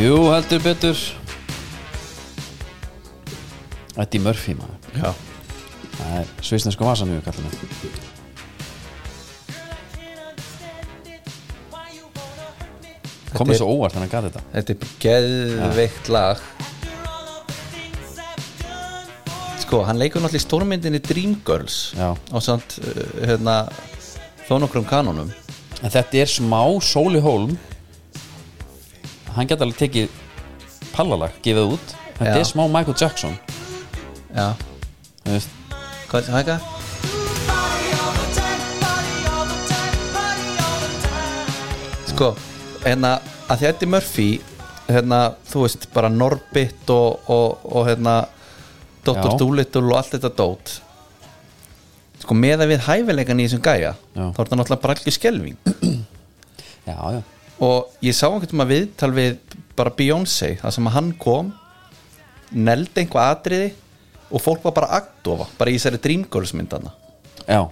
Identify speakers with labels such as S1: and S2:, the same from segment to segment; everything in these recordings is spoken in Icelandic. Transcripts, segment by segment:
S1: Jú, heldur betur Eddie Murphy maður
S2: Já
S1: Það er svisnesku vasan við kallar mig Kom
S2: Þetta er-
S1: mér svo óvart en hann gaf þetta
S2: Þetta er geðveikt lag Sko, hann leikur náttúrulega í stórmyndinni Dreamgirls
S1: Já.
S2: á samt, uh, hérna þó nokkrum kanonum
S1: En þetta er smá Sóli Hólm Hann geta alveg tekið pallalag, gefið út Þetta
S2: Já.
S1: er smá Michael Jackson
S2: Já,
S1: þú veist.
S2: hvað er það? Sko, hérna að þetta er Murphy hérna, þú veist, bara Norbit og, og, og hérna Dr.
S1: Já.
S2: Doolittle og allt þetta dót Sko, meðan við hæfilegan í þessum gæja
S1: Já.
S2: þá er þetta náttúrulega bara algjör skelving
S1: Já, já,
S2: og ég sá einhvern veginn viðtal við bara Beyoncé, það sem að hann kom neldi einhvað atriði og fólk var bara agdofa bara í þessari Dreamgirls myndana
S1: já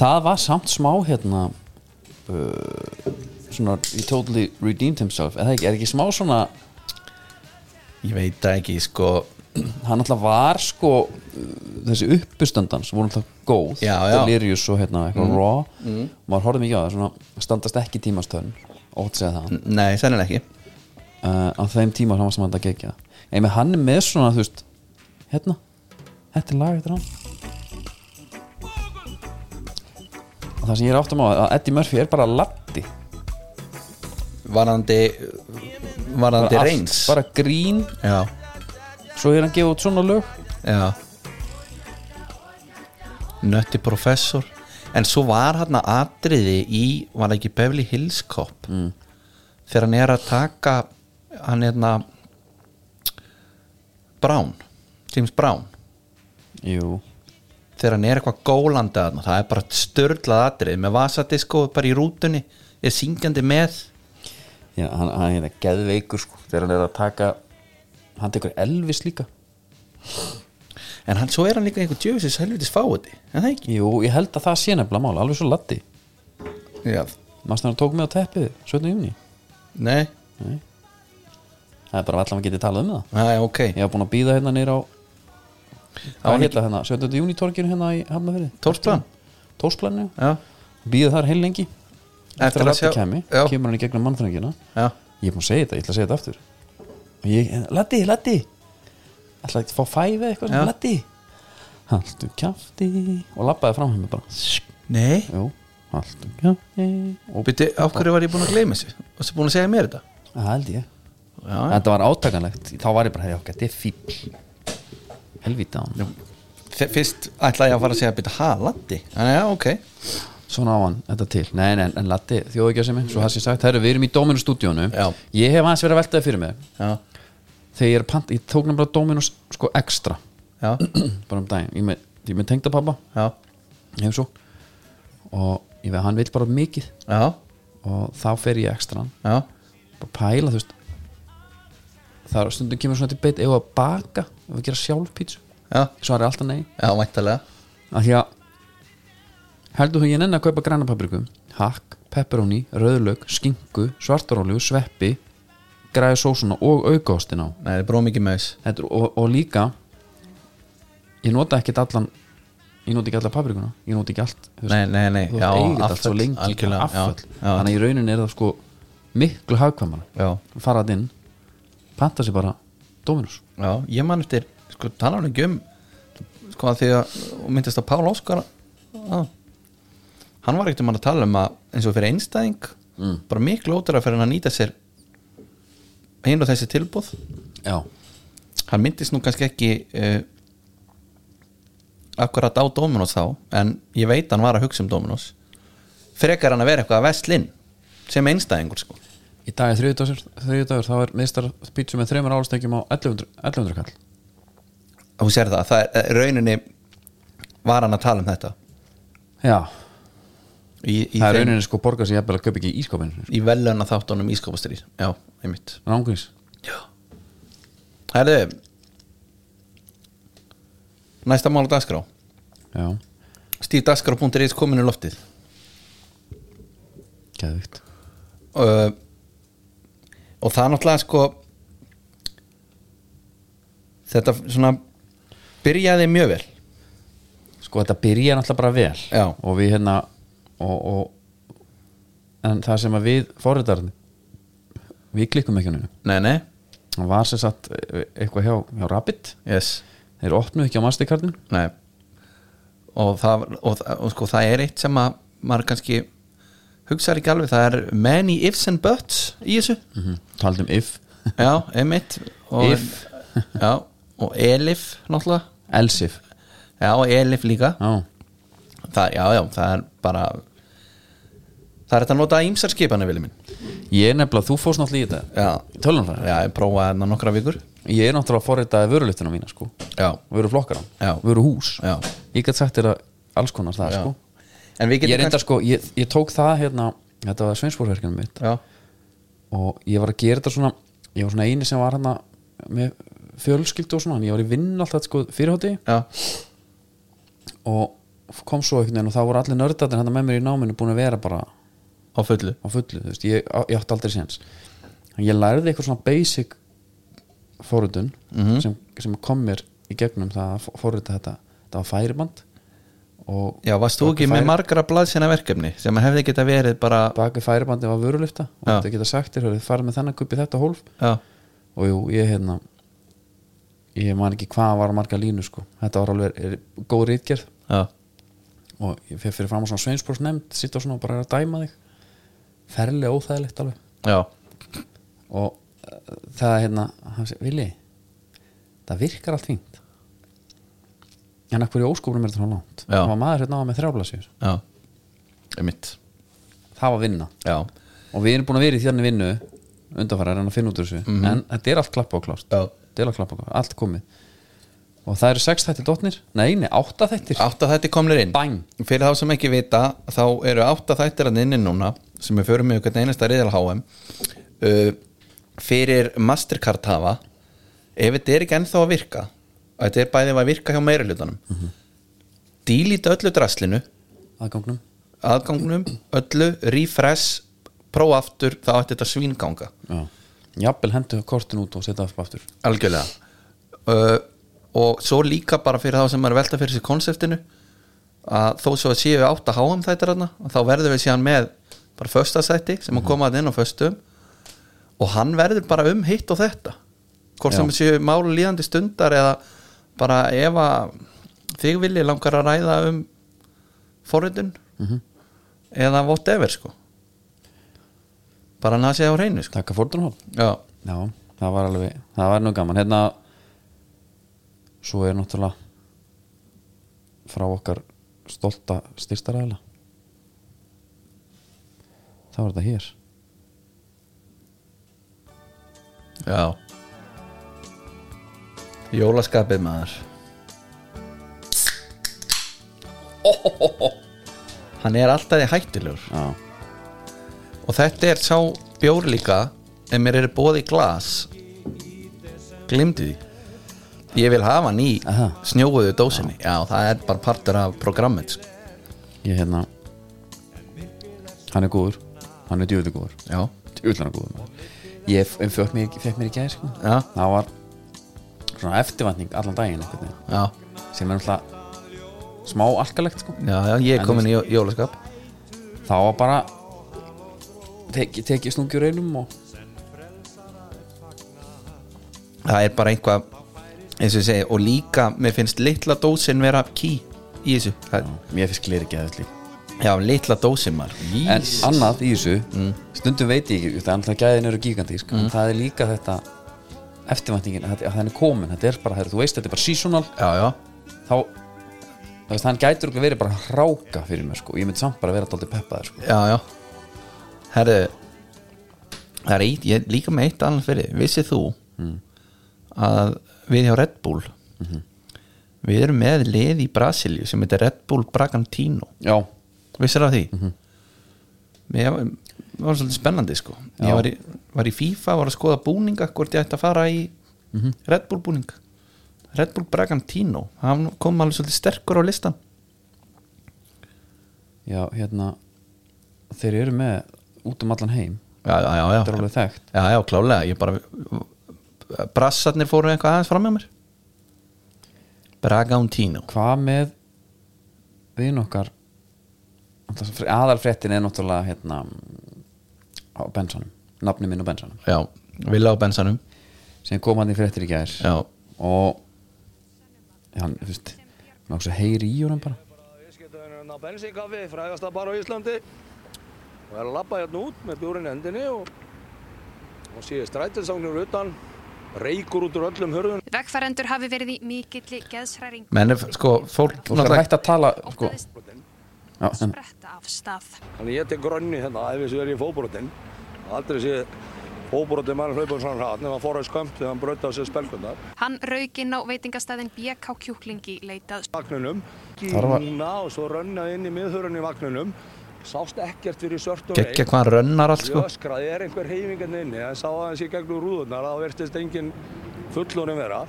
S1: Það var samt smá hérna uh, Svona He totally redeemed himself Er það ekki, er ekki smá svona
S2: ég veit það ekki sko
S1: Hann alltaf var sko uh, Þessi uppustandans voru alltaf góð
S2: Já, Mhm. já.
S1: Delirious og hérna eitthvað raw Maður horfði mikið á það, svona standast ekki tímastörn Ótt segja það
S2: n- nei, sennilega ekki
S1: uh, á þeim tíma hann var sem hann þetta gegja en með hann er með svona þú veist hérna, þetta er lag eftir hann og það sem ég er áttum á er að Eddie Murphy er bara laddi
S2: varandi
S1: bara,
S2: varandi
S1: allt,
S2: reyns
S1: bara grín
S2: já,
S1: svo er hann gefið út svona lög
S2: já nötti professor en svo var hann atriði í var það ekki Beverly Hills Cop mm. þegar hann er að taka hann er hérna Brown James Brown
S1: jú,
S2: þegar hann er eitthvað gólandi að það er bara störlað atrið með vasadisko bara í rútunni, er syngjandi með
S1: Já, hann, hann er geðveikur sko þegar hann er að taka hann tekur Elvis líka
S2: en hann, svo er hann líka einhver djöfisins helvitis fáiði, en það ekki
S1: jú, ég held að það sé nefnilega mál, alveg svo laddi
S2: Já.
S1: mannst hann tók mig á teppið 17. júni
S2: nei,
S1: það er bara allan að geti talað um það
S2: Æ, ok
S1: ég hef búin að býða hérna nýra á
S2: Það var
S1: Hvað
S2: ekki-
S1: heita hérna? 17. júni torginu hérna í Hafnafyrði?
S2: Torfplan?
S1: Torsplan, já.
S2: já,
S1: Býða þar heil lengi. Eftir, að
S2: Eftir að
S1: Latti
S2: sjá-
S1: kemi,
S2: já.
S1: kemur hann í gegnum mannþröngina.
S2: já,
S1: Ég er búin að segja þetta, ég ætla að segja þetta aftur. Og Ég, Latti, Latti! Ætla ekki að fá fæfi eða eitthvað,
S2: Já.
S1: Latti! Haltu kjafti og labbaði fram henni bara.
S2: nei
S1: Jú, haltu kjafti og
S2: Býttu, á hverju var ég búin að gleyma þessu? Varstu búin að segja mér þetta?
S1: það held ég.
S2: Já,
S1: Þetta var átakanlegt, þá var ég bara, hefði okkar, þetta er fíl. Helvítið á hann.
S2: F- Fyrst ætlaði ég að fara að segja býttu, ha, Latti? En já, ok
S1: svona á hann þetta til nei, nei, en Latti, þjóðu ekki að sem mig svo það sé sagt, herru, við erum í Dominus stúdíónu
S2: Já.
S1: ég hef aðeins verið að velta það fyrir mig
S2: Já,
S1: þegar ég er pant, ég tók nefnilega Dominus sko ekstra,
S2: já,
S1: bara um daginn ég er með, ég er með tengdapabba,
S2: já,
S1: ég hef svo og ég veit, hann vil bara mikið
S2: já,
S1: og þá fer ég ekstra hann,
S2: já
S1: bara pæla þú veist það er stundum kemur svona til beitt ef að baka, ef að gera sjálfpítsu
S2: Já,
S1: svo er alltaf nei,
S2: já, mæntalega
S1: af því að heldur þú ég nenni að kaupa græna paprikum hakk, pepperoni, rauðlaug, skinku svartarólu, sveppi græði sósuna og aukaostin á
S2: Nei, það er bró mikið maus
S1: Þetta, er- og, og líka ég nota ekkert allan ég nota ekki allar paprikuna, ég nota ekki allt þú veist.
S2: Nei, nei, nei,
S1: þú
S2: já,
S1: veist, eigið allt svo
S2: afföll,
S1: lengi
S2: algjörlega,
S1: afföll.
S2: já, já.
S1: þannig að í rauninni er það sko miklu hagkvæmara
S2: Já,
S1: fara það inn, panta sér bara Dominus,
S2: já, ég man eftir Sko, tala hann ekki um Sko, að því að, og myndist að Pála Óskar Já Hann var ekkert um að tala um að eins og fyrir einstæðing bara miklu ótara fyrir hann að nýta sér hinn og þessi tilbúð
S1: já,
S2: hann myndist nú kannski ekki uh, akkurat á Dominos þá en ég veit hann var að hugsa um Dominos frekar hann að vera eitthvað að vestlinn sem einstæðingur sko
S1: í dag er þriðdagur, þriðdagur þá er meistar pítsu með þreymar álstekjum á 1100, 1100 kall
S2: og hún sér það, það er, eh, rauninni var hann að tala um þetta
S1: Já,
S2: í, í,
S1: það er
S2: þeim-
S1: rauninni sko borgar sem ég að kaupa ekki í ískapinu
S2: í veluna þáttunum ískópastýr já, einmitt
S1: Rángurins
S2: Herðu næsta mál á dagskrá
S1: Já,
S2: stífdagskrá.is komin í loftið
S1: geðvikt
S2: uh, og það er náttúrulega sko þetta svona byrjaði mjög vel
S1: sko þetta byrja náttúrulega bara vel
S2: Já.
S1: og við hérna og, og, en það sem að við fórritarni við klikkum ekki á neinu
S2: nei, nei,
S1: það var sér satt eitthvað hjá, hjá Rabbit
S2: yes
S1: þeir opnuðu ekki á mastercardin
S2: nei. og það og, það- og sko það er eitt sem að maður kannski hugsaði ekki alveg það er many ifs and buts í þessu
S1: mm -hmm. taldum if,
S2: já, emitt og,
S1: If.
S2: já, og elif náttúrulega
S1: else if
S2: já, og elif líka
S1: já,
S2: það, já, já, það er bara það er þetta að nota ímsar skipana vilja minn
S1: ég er nefnilega, þú fórst náttúrulega í þetta
S2: já,
S1: tölunfræði,
S2: já ég prófaði hérna nokkra vikur
S1: ég er náttúrulega að fórritaði vörulutuna mína sko,
S2: já,
S1: vöruflokkara
S2: Já.
S1: vöruhús,
S2: já,
S1: ég gæti sagt þér að alls konar það
S2: já.
S1: sko
S2: en við
S1: ég
S2: getum
S1: reynda sko, ég, ég tók það hérna þetta var sveinsbúrverkinu mitt
S2: kannski- já,
S1: og ég var að gera þetta svona ég var svona eini sem var hérna með fjölskyldu og svona, en ég var í vinn alltaf sko fyrirhátti
S2: já,
S1: og kom svo einhvern veginn og þá voru allir nördarnir hérna með mér í náminu búin að vera bara á
S2: á fullu
S1: fullu, þú veist, ég, ég átti aldrei séns En ég lærði eitthvað svona basic forritun
S2: Mhm.
S1: sem, sem kom mér í gegnum það að forrita þetta, þetta var færiband og
S2: já, varst þú ekki
S1: Færi-
S2: með margra blaðsina verkefni sem að hefði geta verið bara
S1: baki færibandi var vörulifta og
S2: Já.
S1: þetta geta sagt þér, hörðu, farið með þennan kupp í þetta hólf
S2: já,
S1: og jú, ég hérna ég man ekki hvað var marga línu sko þetta var alveg er, góð rítgerð
S2: já,
S1: og ég fyrir, fyrir fram á svona sveinspórs nefnd sitt og svona og bara er að dæma þig ferlega óþægilegt alveg
S2: já
S1: og uh, það hérna, hann segir, Vili það virkar allt fínt en að hverju óskúrum er þetta svona langt
S2: Já.
S1: það var maður hérna á með þrjáblasjur
S2: já, emitt
S1: það var vinna
S2: já,
S1: og við erum búin að vera í þjarni vinnu undanfæra en að finna út úr þessu en þetta er allt klappa og klárt
S2: já,
S1: Þetta er alveg klappa og klárt, allt komið og það eru sex þættir dotnir nei, nei, átta þættir
S2: átt að þetta komnir inn
S1: bæm,
S2: fyrir þá sem ekki vita þá eru átta þættir að inni núna sem við förum með hvernig einasta reyðal HM uh, fyrir Mastercard hafa ef þetta er ekki ennþá að virka og þetta er bæðið að virka hjá meira hlutanum mm -hmm. öllu draslinu
S1: aðgangnum
S2: aðgangnum, öllu, refresh prófa aftur, þá ætti þetta svínganga
S1: já. jafnvel hendu kortin út og setja upp aftur
S2: algjörlega uh, og svo líka bara fyrir þá sem maður er að velta fyrir sér konseptinu að þó svo að séu átt að háum þættir þarna þá verður við síðan með bara föstasætti sem að koma að inn á föstum og hann verður bara um hitt og þetta hvort sem
S1: Já.
S2: séu máli líðandi stundar eða bara ef að þig vilji langar að ræða um forritun eða whatever sko bara hann að segja á hreinu sko
S1: taka fórtunhóð
S2: já,
S1: já, það var alveg, það var nú gaman hérna svo er náttúrulega frá okkar stolta styrstaræðla það var þetta hér
S2: Já Jólaskapið maður Hann er alltaf í hættulegur
S1: já,
S2: Og þetta er sá bjór líka En mér er bóð í glas Glimdu því Ég vil hafa hann í
S1: Aha.
S2: snjóuðu dósinni Já, það er bara partur af programmet sko.
S1: ég hérna hann er góður, hann er djúvöldu góður
S2: Já,
S1: djúvöldan góður maður. ég fekk mér, fekk mér í gæði sko.
S2: já,
S1: það var svona eftirvætning allan daginn einhvern veginn
S2: já
S1: sem er náttúrulega smá alkalegt sko.
S2: Já, já, ég
S1: En
S2: er komin í jó- jólaskap
S1: það var bara tekið teki snungjur einum og
S2: það er bara einhvað eins og ég segi, og líka mér finnst litla dósin vera ký í þessu það,
S1: mér finnst gleri ekki aðeins líka
S2: já, litla dósin maður
S1: en
S2: Jís.
S1: annað í þessu stundum veit ég ekki, það er alltaf gæðin eru gigandi sko. en það er líka þetta eftirvæntingin, að að hann er komin þetta er bara, herri, þú veist, þetta er bara seasonal
S2: já, já,
S1: þá, þú veist, hann gætur okkur verið bara hráka fyrir mér, sko, ég myndi samt bara vera alltaf peppaður, sko,
S2: já, já herru það er eitt, ég er líka með eitt annað fyrir vissið þú að við hjá Red Bull við erum með lið í Brasilíu sem heitir Red Bull Bragantino
S1: já,
S2: vissir af því mér var, mér var svolítið spennandi sko
S1: Já.
S2: ég var í, var í FIFA, var að skoða búninga hvort ég ætti að fara í Red Bull búning Red Bull Bragantino hann kom alveg svolítið sterkur á listan
S1: já, hérna þeir eru með út um allan heim
S2: já, já, já,
S1: þetta er
S2: já,
S1: alveg þekkt
S2: já, já klálega ég bara brassarnir fóru eitthvað aðeins fram með mér Bragantino
S1: hvað með vin okkar aðalfréttin er náttúrulega hérna á bensanum, nafni minn á bensanum
S2: já, Villa á bensanum
S1: sem kom hann í fréttir í gær
S2: já,
S1: og hann, þú veist hann svo heyri í honum bara
S3: Viðskiptaðurinn á bensinkaffi, frægasta bar á Íslandi og er að labba hérna út með bjúrin í hendinni og, og sé strætinsangnir utan reykur út úr öllum hörðun
S4: Vegfærendur hafi verið í mikilli geðsræringu
S2: menn er, sko, fólk
S1: þú skal hægt að tala sko,
S4: óttaðist
S1: já, en,
S4: spretta af stað.
S3: þannig ég tek grönni hérna ef þessu er í fóbrotin aldrei sé fóbrotin mann hlaupum svona hratt nema fóra skömmt þegar hann brötta á sér spelkundar
S4: Hann rauk inn á veitingastæðin BK Kjúklingi leitað
S3: vagnunum,
S1: Þar var-
S3: núna og svo rönna inn í miðhörunni í vagnunum sást ekkert fyrir sörtu
S2: geggja hvað hann rönnar allt sko.
S3: Ég öskraði, er einhver hreyfingin inni, en sá aðeins í gegnum rúðunar, þá virtist engin fullonum vera.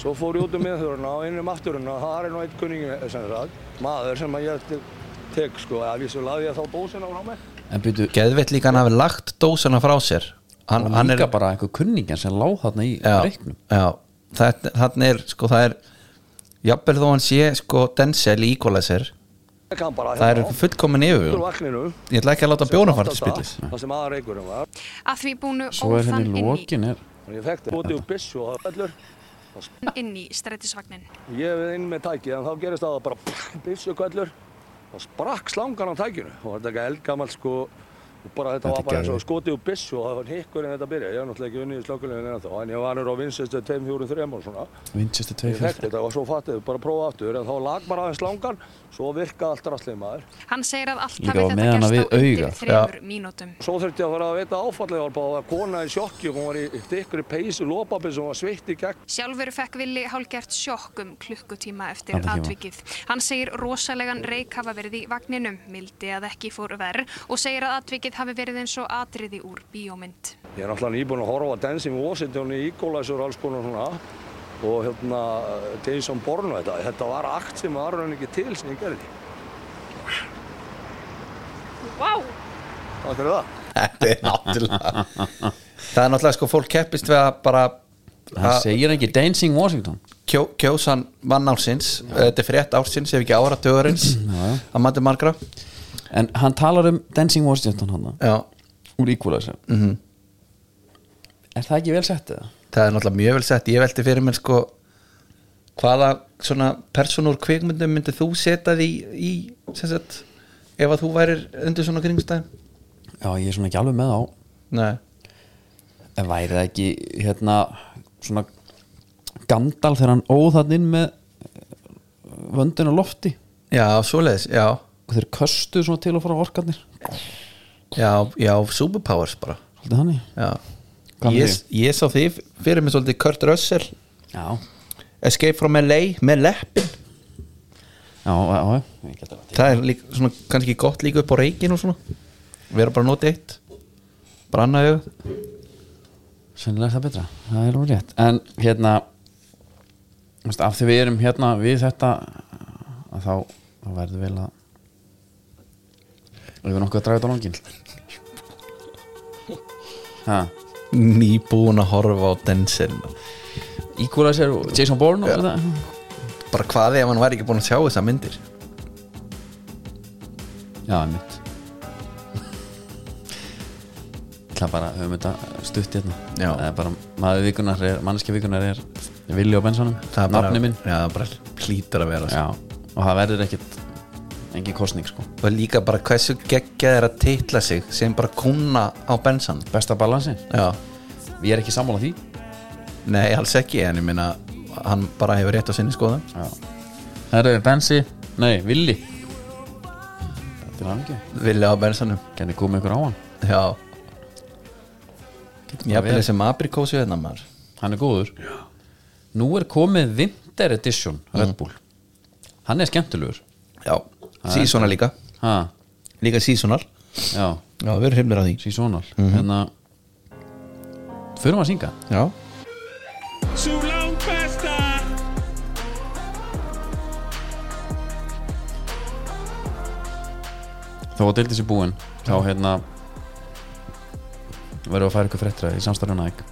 S3: Svo fór ég út um miðhöruna og innum afturuna, það er nú einn kunningi sem það, maður sem að ég te- tek sko, að vissu laði ég þá dósina frá mig.
S1: en býtu
S2: geðveitt líka hann hafi lagt dósana frá sér hann,
S1: og
S2: hann
S1: líka
S2: er
S1: bara einhver kunningin sem láð þarna í
S2: já,
S1: reiknum
S2: já, það, þannig er sko, það er jafnvel þó hann sé sko Denzel í Equalizer
S3: Ég kann bara hérna
S2: það er fullkomin yfir
S3: úr vagninu.
S2: ég ætla ekki að láta bjóna fara til
S3: Átt að
S2: spillis
S3: stað, Það um. sem aðra reikurum var.
S4: að því búnu
S1: svo er
S4: ófann
S1: henni
S4: inn í,
S1: lokin er
S3: Og ég fekk bóti úr byssu og öllur.
S4: inn í strætisvagnin.
S3: Ég við inn með tækið, en þá gerist það að bara byssu öllur. Og sprakk slangan á tækinu. Og þetta er ekki eldgamalt sko, og bara þetta
S1: Þetta
S3: var bara eins og
S1: gerði.
S3: skotið úr byssu og það var hikkur en þetta byrja. Ég var náttúrulega ekki unnið í slökuleginu en þá, en ég var nýra á vinsestu 2, 4, 3 og svona.
S1: Winchester
S3: Ég
S1: 2
S3: þekkti þetta og svo fattið þau bara að prófa aftur, en þá lag bara aðeins slangan, svo virkaði allt rastlið maður.
S4: Hann segir að allt
S1: Líka
S4: hafi
S1: var með
S4: þetta
S1: hana
S4: gerst á
S1: við
S4: undir
S1: augað.
S4: þreymur mínútum.
S3: Svo þurfti ég að fara að veita áfallið, ég var bara kona í sjokki, hún var í þykri peysu, lópapið sem var sveitt í gegn.
S4: Sjálfur fekk Vili hálgert sjokk um klukkutíma eftir
S1: Klukkutíma.
S4: atvikið. Hann segir rosalegan reik hafa verið í vagninum, mildi að ekki fór verð og segir að atvikið hafi verið eins og atriði úr bíómynd.
S3: Ég er náttúrulega nýbúinn að horfa að Dancing Washington í Equalizer og alls konar svona og hérna Jason Bourne og þetta. Þetta var akt sem var raunin ekki til sem ég gerði.
S4: Vá!
S3: Það er það.
S2: þetta er náttúrulega það er náttúrulega sko fólk keppist við að bara
S1: hann
S2: að
S1: segir ekki Dancing Washington
S2: kjó, kjósan mann ársins þetta er frétt ársins ef ekki áratugurins að matur margra
S1: en hann talar um Dancing Washington hann
S2: já,
S1: úr Equalizer mm er það ekki vel sett eða?
S2: það er náttúrulega mjög vel sett ég velti fyrir mér sko hvaða svona personur kvikmyndum myndi þú setja því í sem sagt, ef að þú værir undir svona kringstæð
S1: já ég er svona ekki alveg með á
S2: nei,
S1: en væri það ekki hérna svona Gandalf þegar hann óð þarna inn með eh, vöndin á lofti
S2: já, svoleiðis já,
S1: og þeir köstuðu svona til og frá orkarnir
S2: já, já, superpowers bara
S1: svolítið þannig
S2: já
S1: Hvað með
S2: ég, ég sá því fyrir mér svolítið Kurt Russell
S1: já,
S2: Escape from LA með leppin
S1: já, já, já. ég get það
S2: það er líka, svona, kannski gott líka upp á reikin og svona vera bara nót eitt brannaðu
S1: sennilega er það betra, það er alveg rétt en hérna þú veist, af því við erum hérna við þetta að þá, þá verður vel að við erum nokkuð að draga þetta á langin ha,
S2: nýbúin að horfa á Denzel
S1: Equalizer og Jason Bourne og þetta
S2: bara hvað ef hann væri ekki búin að sjá þessa myndir
S1: Já, einmitt Það bara höfum þetta stutt hérna
S2: Já.
S1: Það er bara, maður vikunar er, manneskja vikunar er Villi og Bensanum,
S2: það er bara,
S1: nafni minn
S2: já, það er bara hlýtur að vera sko.
S1: Já, og það verður ekkit engin kostning sko
S2: og líka bara hversu geggjað er að titla sig sem bara kuna á bensan
S1: Besta balansin,
S2: já,
S1: ég er ekki sammála því
S2: nei alls ekki en ég minna hann bara hefur rétt á sinni skoðum
S1: Já Herru, Bensi, nei, Villi Þetta er hann ekki
S2: vilja á bensanum
S1: Kenni komið ykkur á hann
S2: já,
S1: Getur bara
S2: ég hafði
S1: verið.
S2: þessi mabrikósu hérna maður
S1: Hann er góður Nú er komið Winter Edition Red Bull Hann er skemmtilegur
S2: já, sísona líka
S1: Ha,
S2: líka sísonar
S1: já
S2: já, við erum hreifnir að því
S1: Seasonal mm -hmm. Hérna Förum að synga
S2: já,
S5: Sú langt besta
S1: Þá var deildið sér búin Þá hérna verðum að færa ykkur fréttræði í samstarfuna ekki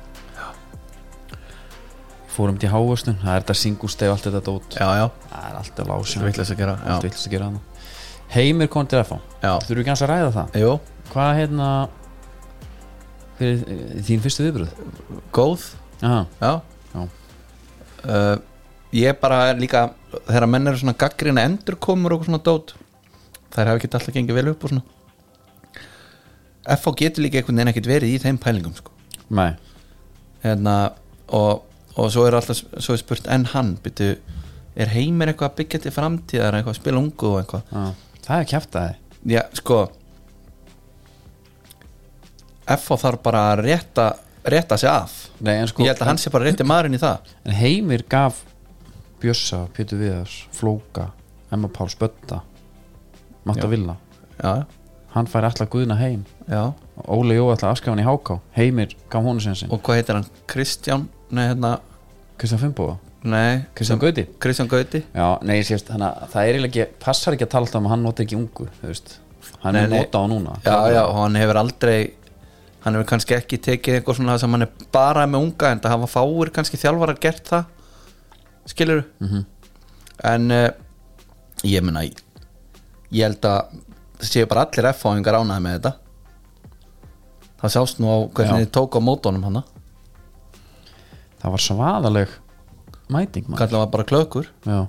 S1: fórum til hávöslun, það er þetta singusteg allt þetta dót,
S2: já, já,
S1: það er alltaf lásjum
S2: þetta vitleis að gera
S1: allt
S2: já,
S1: villast að gera það heimir kom til FH,
S2: já,
S1: þurfum við ekki aðeins að ræða það
S2: jú,
S1: hvað hérna hver er eh, þín fyrstu viðbröð?
S2: góð
S1: Aha,
S2: já,
S1: Já.
S2: Uh, ég bara líka þegar menn eru svona gaggrina endurkomur og svona dót þær hafa ekki alltaf gengið vel upp og svona FH getur líka einhvern veginn ekkert verið í þeim pælingum sko.
S1: nei,
S2: hérna, og, og svo er alltaf svo er spurt enn hann byrju, er heimir eitthvað að byggja til framtíðar eitthvað að spila ungu og eitthvað
S1: á, það er kæft að þið
S2: já sko FH þarf bara að rétta rétta sig af
S1: nei, en sko,
S2: ég held að hann sé bara rétti maðurinn í það
S1: en heimir gaf Bjössa, Pétur Viðars, Flóka Emma Páls Bötta Matta
S2: Já.
S1: Villa,
S2: já,
S1: hann fær alltaf guðna heim
S2: já
S1: Óli Jó alltaf afskafan í Háká Heimir gaf honum sem sinn
S2: og hvað heitir hann, Kristján nei, hérna,
S1: Kristján Fimboða,
S2: nei
S1: Kristján Gauti
S2: Kristján Gauti
S1: Já, nei, sérst, hana, það er eiginlega ekki passar ekki að tala alltaf um að hann nota ekki ungu þú veist. hann
S2: Nei,
S1: er
S2: nei.
S1: nota á núna
S2: já, já, og hann hefur aldrei hann hefur kannski ekki tekið eitthvað svona sem hann er bara með unga en það hafa fáir kannski þjálfarar gert það skilur
S1: Mhm.
S2: -hmm. en uh, ég meina ég held að það séu bara allir F-fáingar ánaði með þetta það sást nú á hvernig
S1: Já.
S2: þið tók á mótónum hann
S1: Það var svaðaleg mæting maður.
S2: kallar var bara klökur
S1: Já,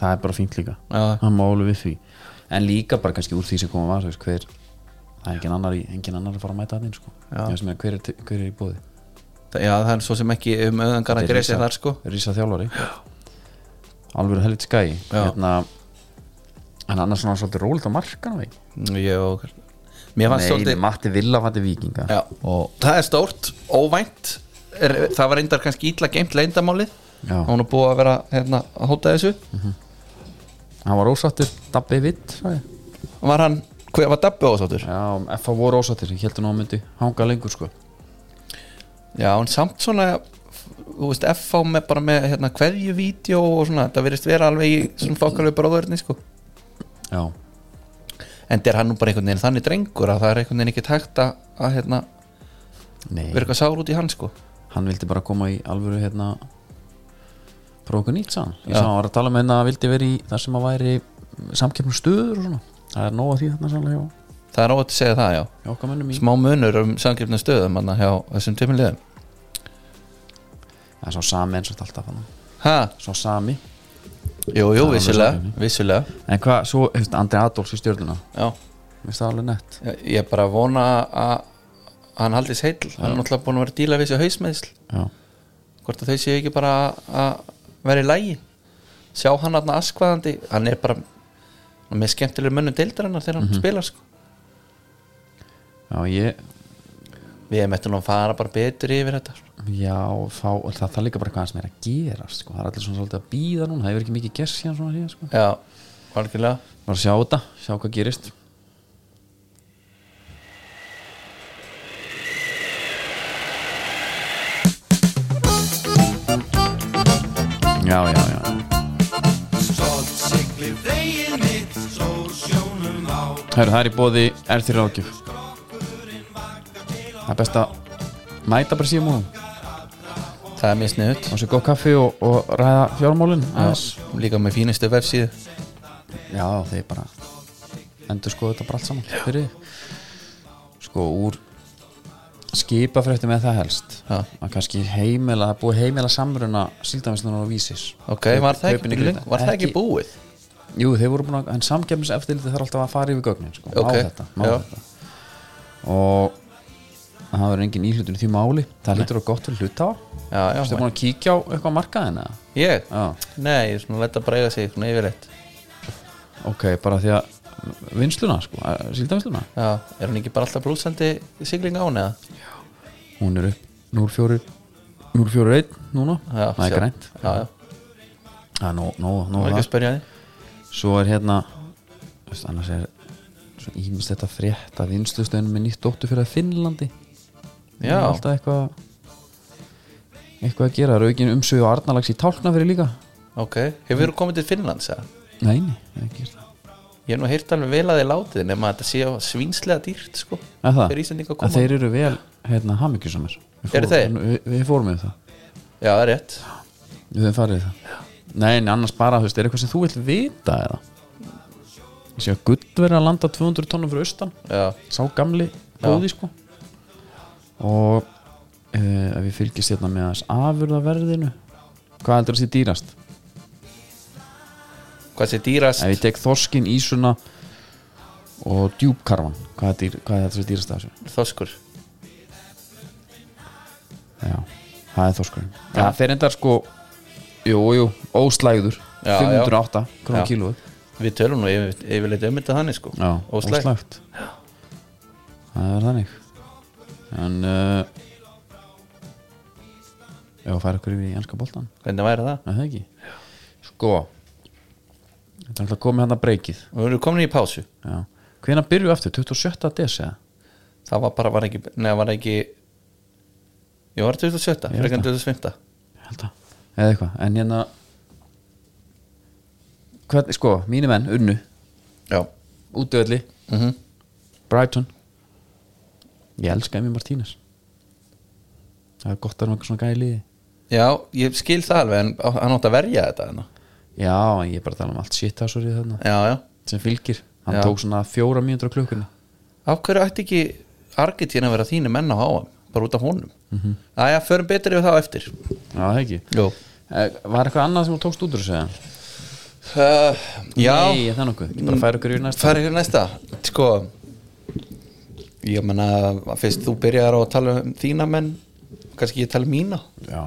S1: það er bara fínt líka
S2: já,
S1: hann málu við því en líka bara kannski úr því sem koma var þú veist, hver, það er engin annar, í- engin annar að fara að mæta hann sko.
S2: Já.
S1: Ég veist meira, hver, er til- hver er í bóði
S2: það- já, það er svo sem ekki um auðangar að
S1: Þetta er
S2: greisa
S1: risa-
S2: þar sko
S1: Rísa þjálfari alveg helvit skæ
S2: Já.
S1: hérna, en annars svona svolítið rólið á markan
S2: Jó, mér fannst
S1: Nei,
S2: svolítið
S1: Matti Villa fætti vikinga
S2: Já, og það er stórt, óvænt er, Það var reyndar kannski ítla geimt leyndamálið
S1: Já.
S2: Hún er búið að vera hérna, að hóta þessu
S1: hann var ósattur, Dabbi Vitt sagði.
S2: Var hann, hver var Dabbi ásáttur?
S1: já, F.A. voru ósattur, ég heldur nú að myndi hanga lengur sko
S2: Já, en samt svona Þú veist, FH með bara með hérna, hverju vídeo og svona, þetta virðist vera alveg í svona þokkalegu bróðurni, sko
S1: já,
S2: En þetta er hann nú bara einhvern veginn þannig drengur að það er einhvern veginn ekki tækt að, að hérna,
S1: nei,
S2: vera eitthvað sár út í hann, sko
S1: hann vildi bara koma í alvöru hérna prófa okkur nýtt sann ég
S2: Já.
S1: sá hann var að tala um hérna að vildi verið í þar sem að væri samkeppnum stöður og svona það er nóg að því þarna sannlega hjá,
S2: Það er óvægt að segja það, já
S1: hjá okkar mönnum í
S2: Smá munur um samgjöfnum stöðum hérna, hjá þessum tveimur liðum
S1: það er svo sami eins og þetta alltaf hann
S2: Ha,
S1: svo sami
S2: jú, jú,
S1: alveg
S2: vissulega,
S1: samkeppni.
S2: vissulega
S1: en hvað, svo, hefst, Andri Adolfs í stjórnuna
S2: Já,
S1: minnst það alveg nett
S2: ég er bara að vona að hann haldis heill hann er náttúrulega búin að vera að díla við þessu hausmeðsl
S1: já,
S2: hvort að þau séu ekki bara að vera í lægi sjá hann aðna askvaðandi hann er bara með skemmtilegur mönnum deildarinnar þegar
S1: Mhm.
S2: hann spilar sko.
S1: já, ég
S2: við erum eftir nú að fara bara betur yfir þetta
S1: já, þá, og það, það er líka bara hvað sem er að gerast sko, það er allir svona svolítið að býða núna það hefur ekki mikið gerst síðan svona síðan sko
S2: já, algjörlega
S1: bara að sjá þetta, sjá hvað gerist Já, já, já Hörru, það er í bóði R3 ráðgjöf Það er best að mæta bara síðan múlum
S2: það er mjög sniðut
S1: og sér góð kaffi og, og ræða fjármálin aðeins.
S2: líka með fínustu vefsíðu
S1: Já, þeir bara endur skoðu þetta bara allt saman fyrir þig. sko úr skipafréttum eða það helst
S2: Já.
S1: að kannski heimila, það er búið heimila samruna síldavinslunar og vísis
S2: ok, var það ekki,
S1: Kaupin í
S2: ekki,
S1: Grindavík.
S2: var það ekki búið
S1: Jú, þeir voru búin að, en samkefnis eftirliti þarf alltaf að fara yfir gögnin sko, má
S2: Ok,
S1: þetta, má
S2: já.
S1: þetta og það er engin íhlutun í því máli það hlutur á gott fyrir hluta á
S2: já, já,
S1: Þú búin að kíkja á eitthvað markaðina
S2: ég,
S1: Já,
S2: nei, ég er svona lett að breyga sig svona yfirleitt
S1: ok, bara því að vinsluna, sko, síldavinsluna
S2: já, er hann ekki bara alltaf brúsandi sigling án eða
S1: hún er upp 04 041 núna
S2: Já,
S1: það er
S2: sjá.
S1: grænt
S2: já, já,
S1: það er nóg, nóg,
S2: það
S1: nóg
S2: var ekki að
S1: það.
S2: spyrja því
S1: svo er hérna þú veist, annars er svo ímest þetta frétt að vinslustöðunum með nýtt dóttu fyrir að Finnlandi Það
S2: Já.
S1: er alltaf eitthvað eitthvað að gera, það eru aukin umsvið og Arnalags í tálkna fyrir líka
S2: ok, hefur þú komið til Finnlands eða?
S1: nei, nei, það er ekki gert það
S2: ég hef nú heyrt alveg vel að þið látið nema að þetta sé á svínslega dýrt sko,
S1: Er það?
S2: fyrir Íslandinga að
S1: að
S2: koma
S1: þeir eru vel hérna hamingjusamir Við
S2: Eru
S1: fórum-
S2: þeir?
S1: Við, við fórum yfir það
S2: Já, það er rétt
S1: Við höfum farið í það Nei, en annars bara, þú veist, er eitthvað sem þú vilt vita eða? Ég sé að gutt verið að landa 200 tónum fyrir austan
S2: Já,
S1: Sá gamli góði, sko Og eh, ef við fylgjast hérna með þess afurðaverðinu Hvað heldur þessi dýrast?
S2: hvað sé dýrast
S1: Ef ég tek þorskin, ísuna og djúpkarfan Hvað er, dýr, hvað er þessi dýrast af þessu?
S2: Þoskur
S1: Já, það er þorskurinn Það fer endar sko, jú, jú, óslægður
S2: Já,
S1: 508 krónu
S2: Já.
S1: kílóið
S2: Við tölum nú yfir, yfirleitt um þetta þannig sko
S1: Já,
S2: Óslægt.
S1: óslægt. Það er þannig En uh, Ef að fara ykkur yfir í ennska boltan
S2: Hvernig væri það?
S1: Er það ekki? Sko Þetta er alltaf komið hann að breykið
S2: Og við erum komin í pásu
S1: Já. Hvenær byrjuðu aftur? 27. des eða?
S2: Það var bara, var ekki, neða var ekki Ég var
S1: Ég
S2: 27,
S1: veit
S2: frekar
S1: það.
S2: 25
S1: Ég held að Eða eitthvað, en hérna Hvernig, sko, mínu menn, unnu
S2: Já
S1: Útöðli,
S2: mm
S1: Brighton Ég elska Emi Martínez Það er gott að vera með eitthvað svona gæði í liði
S2: Já, ég skil það alveg en á- hann átti að verja þetta hérna. hana.
S1: Já, ég er bara að tala um allt shit ásverið þarna
S2: Já, já
S1: sem fylgir, hann
S2: Já.
S1: tók svona fjóra mínútur á klukkunni
S2: Af hverju ætti ekki Argentín að vera þínu menn á háam bara út af honum mm
S1: Mhm.
S2: -hmm. Æja, förum betur yfir það á eftir
S1: Já, það ekki
S2: Jó
S1: Eh, Var eitthvað annað sem þú tókst út úr þessu? eða?
S2: uh, Já
S1: Nei, það er nokkuð, ekki bara færa okkur í næsta
S2: Færi fyrir næsta Sko Ég menna Fyrst þú byrjar á að tala um þína menn kannski ég tala um mína
S1: Já,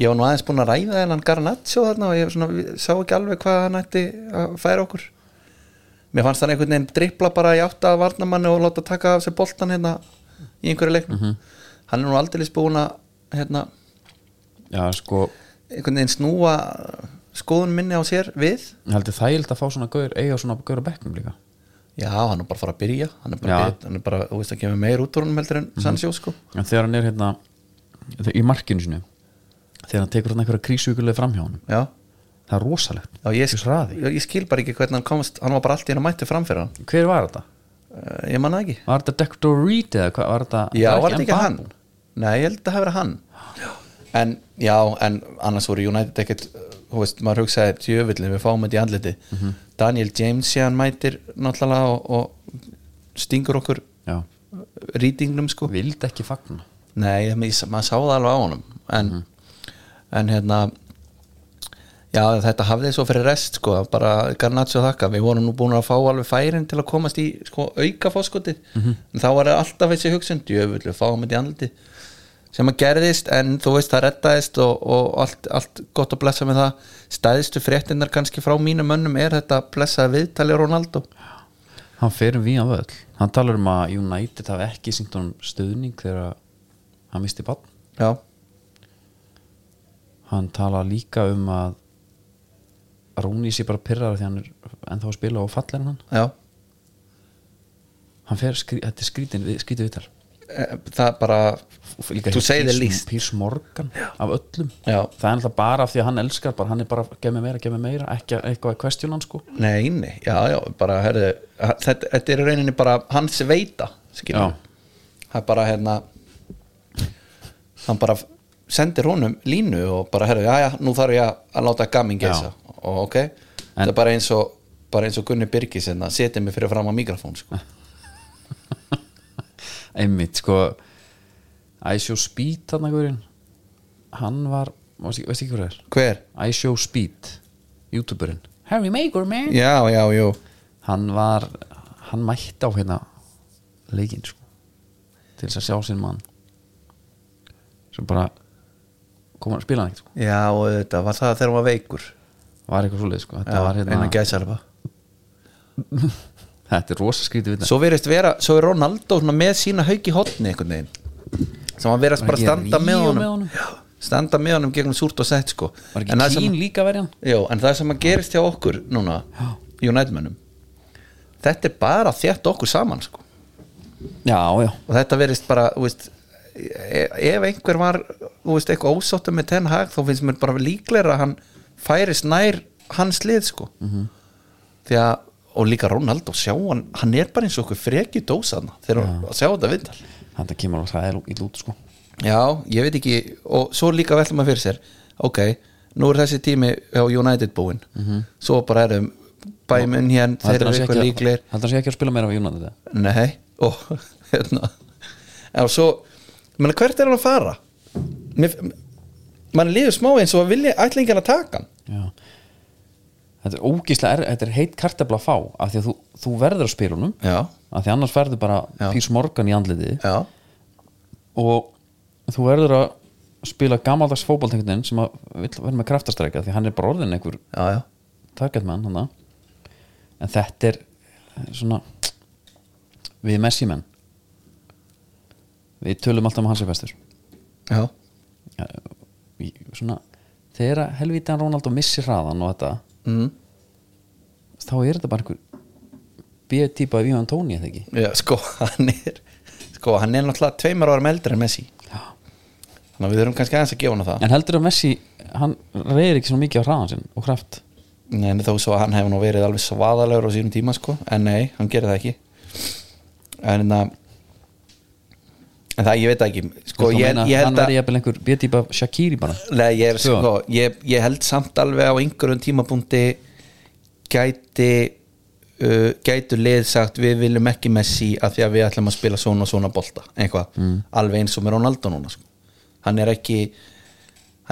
S2: Ég var nú aðeins búin að ræða hennan Garnaccio þarna og ég svona, sá ekki alveg hvað hann ætti að færa okkur Mér fannst hann einhvern veginn dripla bara í átta að varnamanni og láta taka af sér boltan hérna í einhverju leiknum Hann er nú aldrei búin að hérna,
S1: já sko,
S2: einhvern veginn snúa skoðun minni á sér við
S1: ég heldur þægild að fá svona gaur, eiga svona gaur á bekknum líka
S2: Já, hann er bara að fara að byrja hann er bara,
S1: Já.
S2: að byrja, hann er bara þú veist að kemur meir út úr honum heldur en Sancho sko
S1: En þegar hann er hérna þe- í markinu sinu þegar hann tekur hann einhverja krísugulega framhjá hann
S2: Já,
S1: það er rosalegt
S2: já ég,
S1: Hvers hraði?
S2: já, ég skil bara ekki hvernig hann komst hann var bara allt í hann að mætti framfyrir hann
S1: Hver var þetta?
S2: uh, ég manna ekki
S1: Var þetta Dector Reed eða hvað? Var þetta
S2: Já, var þetta ekki
S1: Mbappé?
S2: hann? Nei, ég held að það hafi verið hann En já, en annars voru United ekkert uh, Þú veist, maður hugsaði tjöfullin við fáum þetta í andliti Daniel James séðan mætir náttúrulega og, og stingur okkur
S1: Já,
S2: rýtingnum sko
S1: vildi ekki fagna
S2: Nei, ég- ég- maður sá það alveg á honum en, en hérna já, þetta hafði svo fyrir rest sko, bara Garnaccio þakka við vorum nú búin að fá alveg færin til að komast í sko, auka fóskotið en þá var það alltaf þessi hugsun, djöfull við fáum þetta í andliti sem að gerðist en þú veist það rettaðist og, og allt, allt gott að blessa með það stæðistu fréttinnar kannski frá mínum mönnum er þetta blessaði viðtali Ronaldo
S1: Hann fer um víðan völl Hann talar um að United hafi ekki sýnt honum stöðning þegar hann misti bann
S2: já,
S1: Hann talar líka um að Rúni sé bara pyrrar því hann er ennþá að spila og fallir en hann
S2: já
S1: Hann fer, skrí, þetta er skrítin, við, skrítin viðtal
S2: Eh, það bara
S1: F- líka
S2: To say the
S1: Piers-
S2: least.
S1: Piers Morgan af öllum
S2: Já.
S1: Það er alltaf bara af því að hann elskar bara, hann er bara, gef mér meira, gef mér meira ekki að- eitthvað að question hann sko
S2: Nei, nei, já, já, bara herðu, þetta, þetta er í rauninni bara hans veita
S1: Já.
S2: skilur það er bara hérna hann bara sendir honum línu og bara herðu, já, já, nú þarf ég að láta gamin geisa og ok, þetta er bara eins og bara eins og Gunni Birgis hérna, setið mig fyrir fram á mikrofón
S1: Ah.
S2: sko.
S1: einmitt sko Æsjó Speed þarna hverjum hann var, veist ekki, veist ekki hver er
S2: hver?
S1: Æsjó Speed, youtuberinn Harry Maker man
S2: Já, já, já,
S1: hann var, hann mætti á hérna leikinn sko til þess að sjá sinn mann sem bara kom að spila hann ekkert sko
S2: já, og þetta var það þegar hann var veikur
S1: var eitthvað svoleið sko, þetta
S2: já,
S1: var hérna
S2: innan gæsalfa
S1: þetta er rosa skrítið við
S2: svo verist vera, svo er Ronaldo svona með sína hauk í hotni einhvern veginn sem hann verist
S1: Var
S2: bara
S1: ekki
S2: standa
S1: Ríó
S2: með honum,
S1: með honum?
S2: Já, standa með honum gegnum súrt og sett sko
S1: var
S2: en það
S1: ekki
S2: sem,
S1: kín líka verjan
S2: jó, en það sem að gerist hjá okkur núna, Unitedmönnum þetta er bara að þétta okkur saman sko,
S1: já, já,
S2: og þetta verist bara þú veist, e- ef einhver var þú veist, eitthvað ósáttum með Ten Hag þá finnst mér bara líklega að hann færist nær hans lið sko
S1: Mhm.
S2: því að, og líka Ronaldo sjá hann, hann er bara eins og okkur freki dósaðna þegar hann sjá þetta viðtal
S1: Þetta kemur alveg hræðil í lút sko
S2: Já, ég veit ekki og svo líka veltum maður fyrir sér ok, nú er þessi tími á United búinn svo bara erum bæminn hér, þeir
S1: Heldur
S2: eru
S1: hann sé
S2: eitthvað
S1: Mhm. ekki
S2: líklegir
S1: að- heldur hann sé ekki að spila meira á United eða?
S2: Nei, og hérna en svo, menn hvert er hann að fara? Mér, mann liður smá eins og að vilja ætlingin að taka hann
S1: Já. Þetta er ógíslega er, þetta er heitt kartabla að fá af því að þú, þú verður að spila honum
S2: Já,
S1: af því annars verður bara
S2: Já.
S1: pís morgan í andlitið
S2: já,
S1: og þú verður að spila gamaldags fótballtengnin sem að vill verður með kraftastrækja því hann er bara orðin einhver
S2: já, já
S1: target man hann en þetta er eh, svona við Messi menn við tölum alltaf um að hans er bestur
S2: Já,
S1: Ja, í- svona þegar að helvítan Ronaldo missir hraðan og þetta
S2: mm.
S1: þá er þetta bara einhver B-típa af Ivan Tóni eða ekki
S2: já sko, hann er sko, hann er náttúrulega tveimur árum eldri en Messi
S1: Já.
S2: þannig að við þurfum kannski aðeins að gefa hann það
S1: en heldur að Messi hann reyðir ekki svo mikið á hraðan sinn og kraft
S2: Nei, en þó svo að hann hefur nú verið alveg svaðalegur á sínum tíma sko, en nei, hann gerir það ekki en en að en það ég veit það ekki sko,
S1: Þú
S2: ég,
S1: meina,
S2: ég
S1: hann
S2: held
S1: verði
S2: að
S1: jafnvel einhver B-típa af Shakiri bara
S2: nei, ég, er,
S1: Sko.
S2: sko, ég, ég held samt alveg á einhverjum tímapunkti gæti uh, gætu lið sagt við viljum ekki Messi af því að við ætlum að spila svona og svona bolta eitthvað,
S1: Mm.
S2: alveg eins og með Ronaldo núna sko. hann er ekki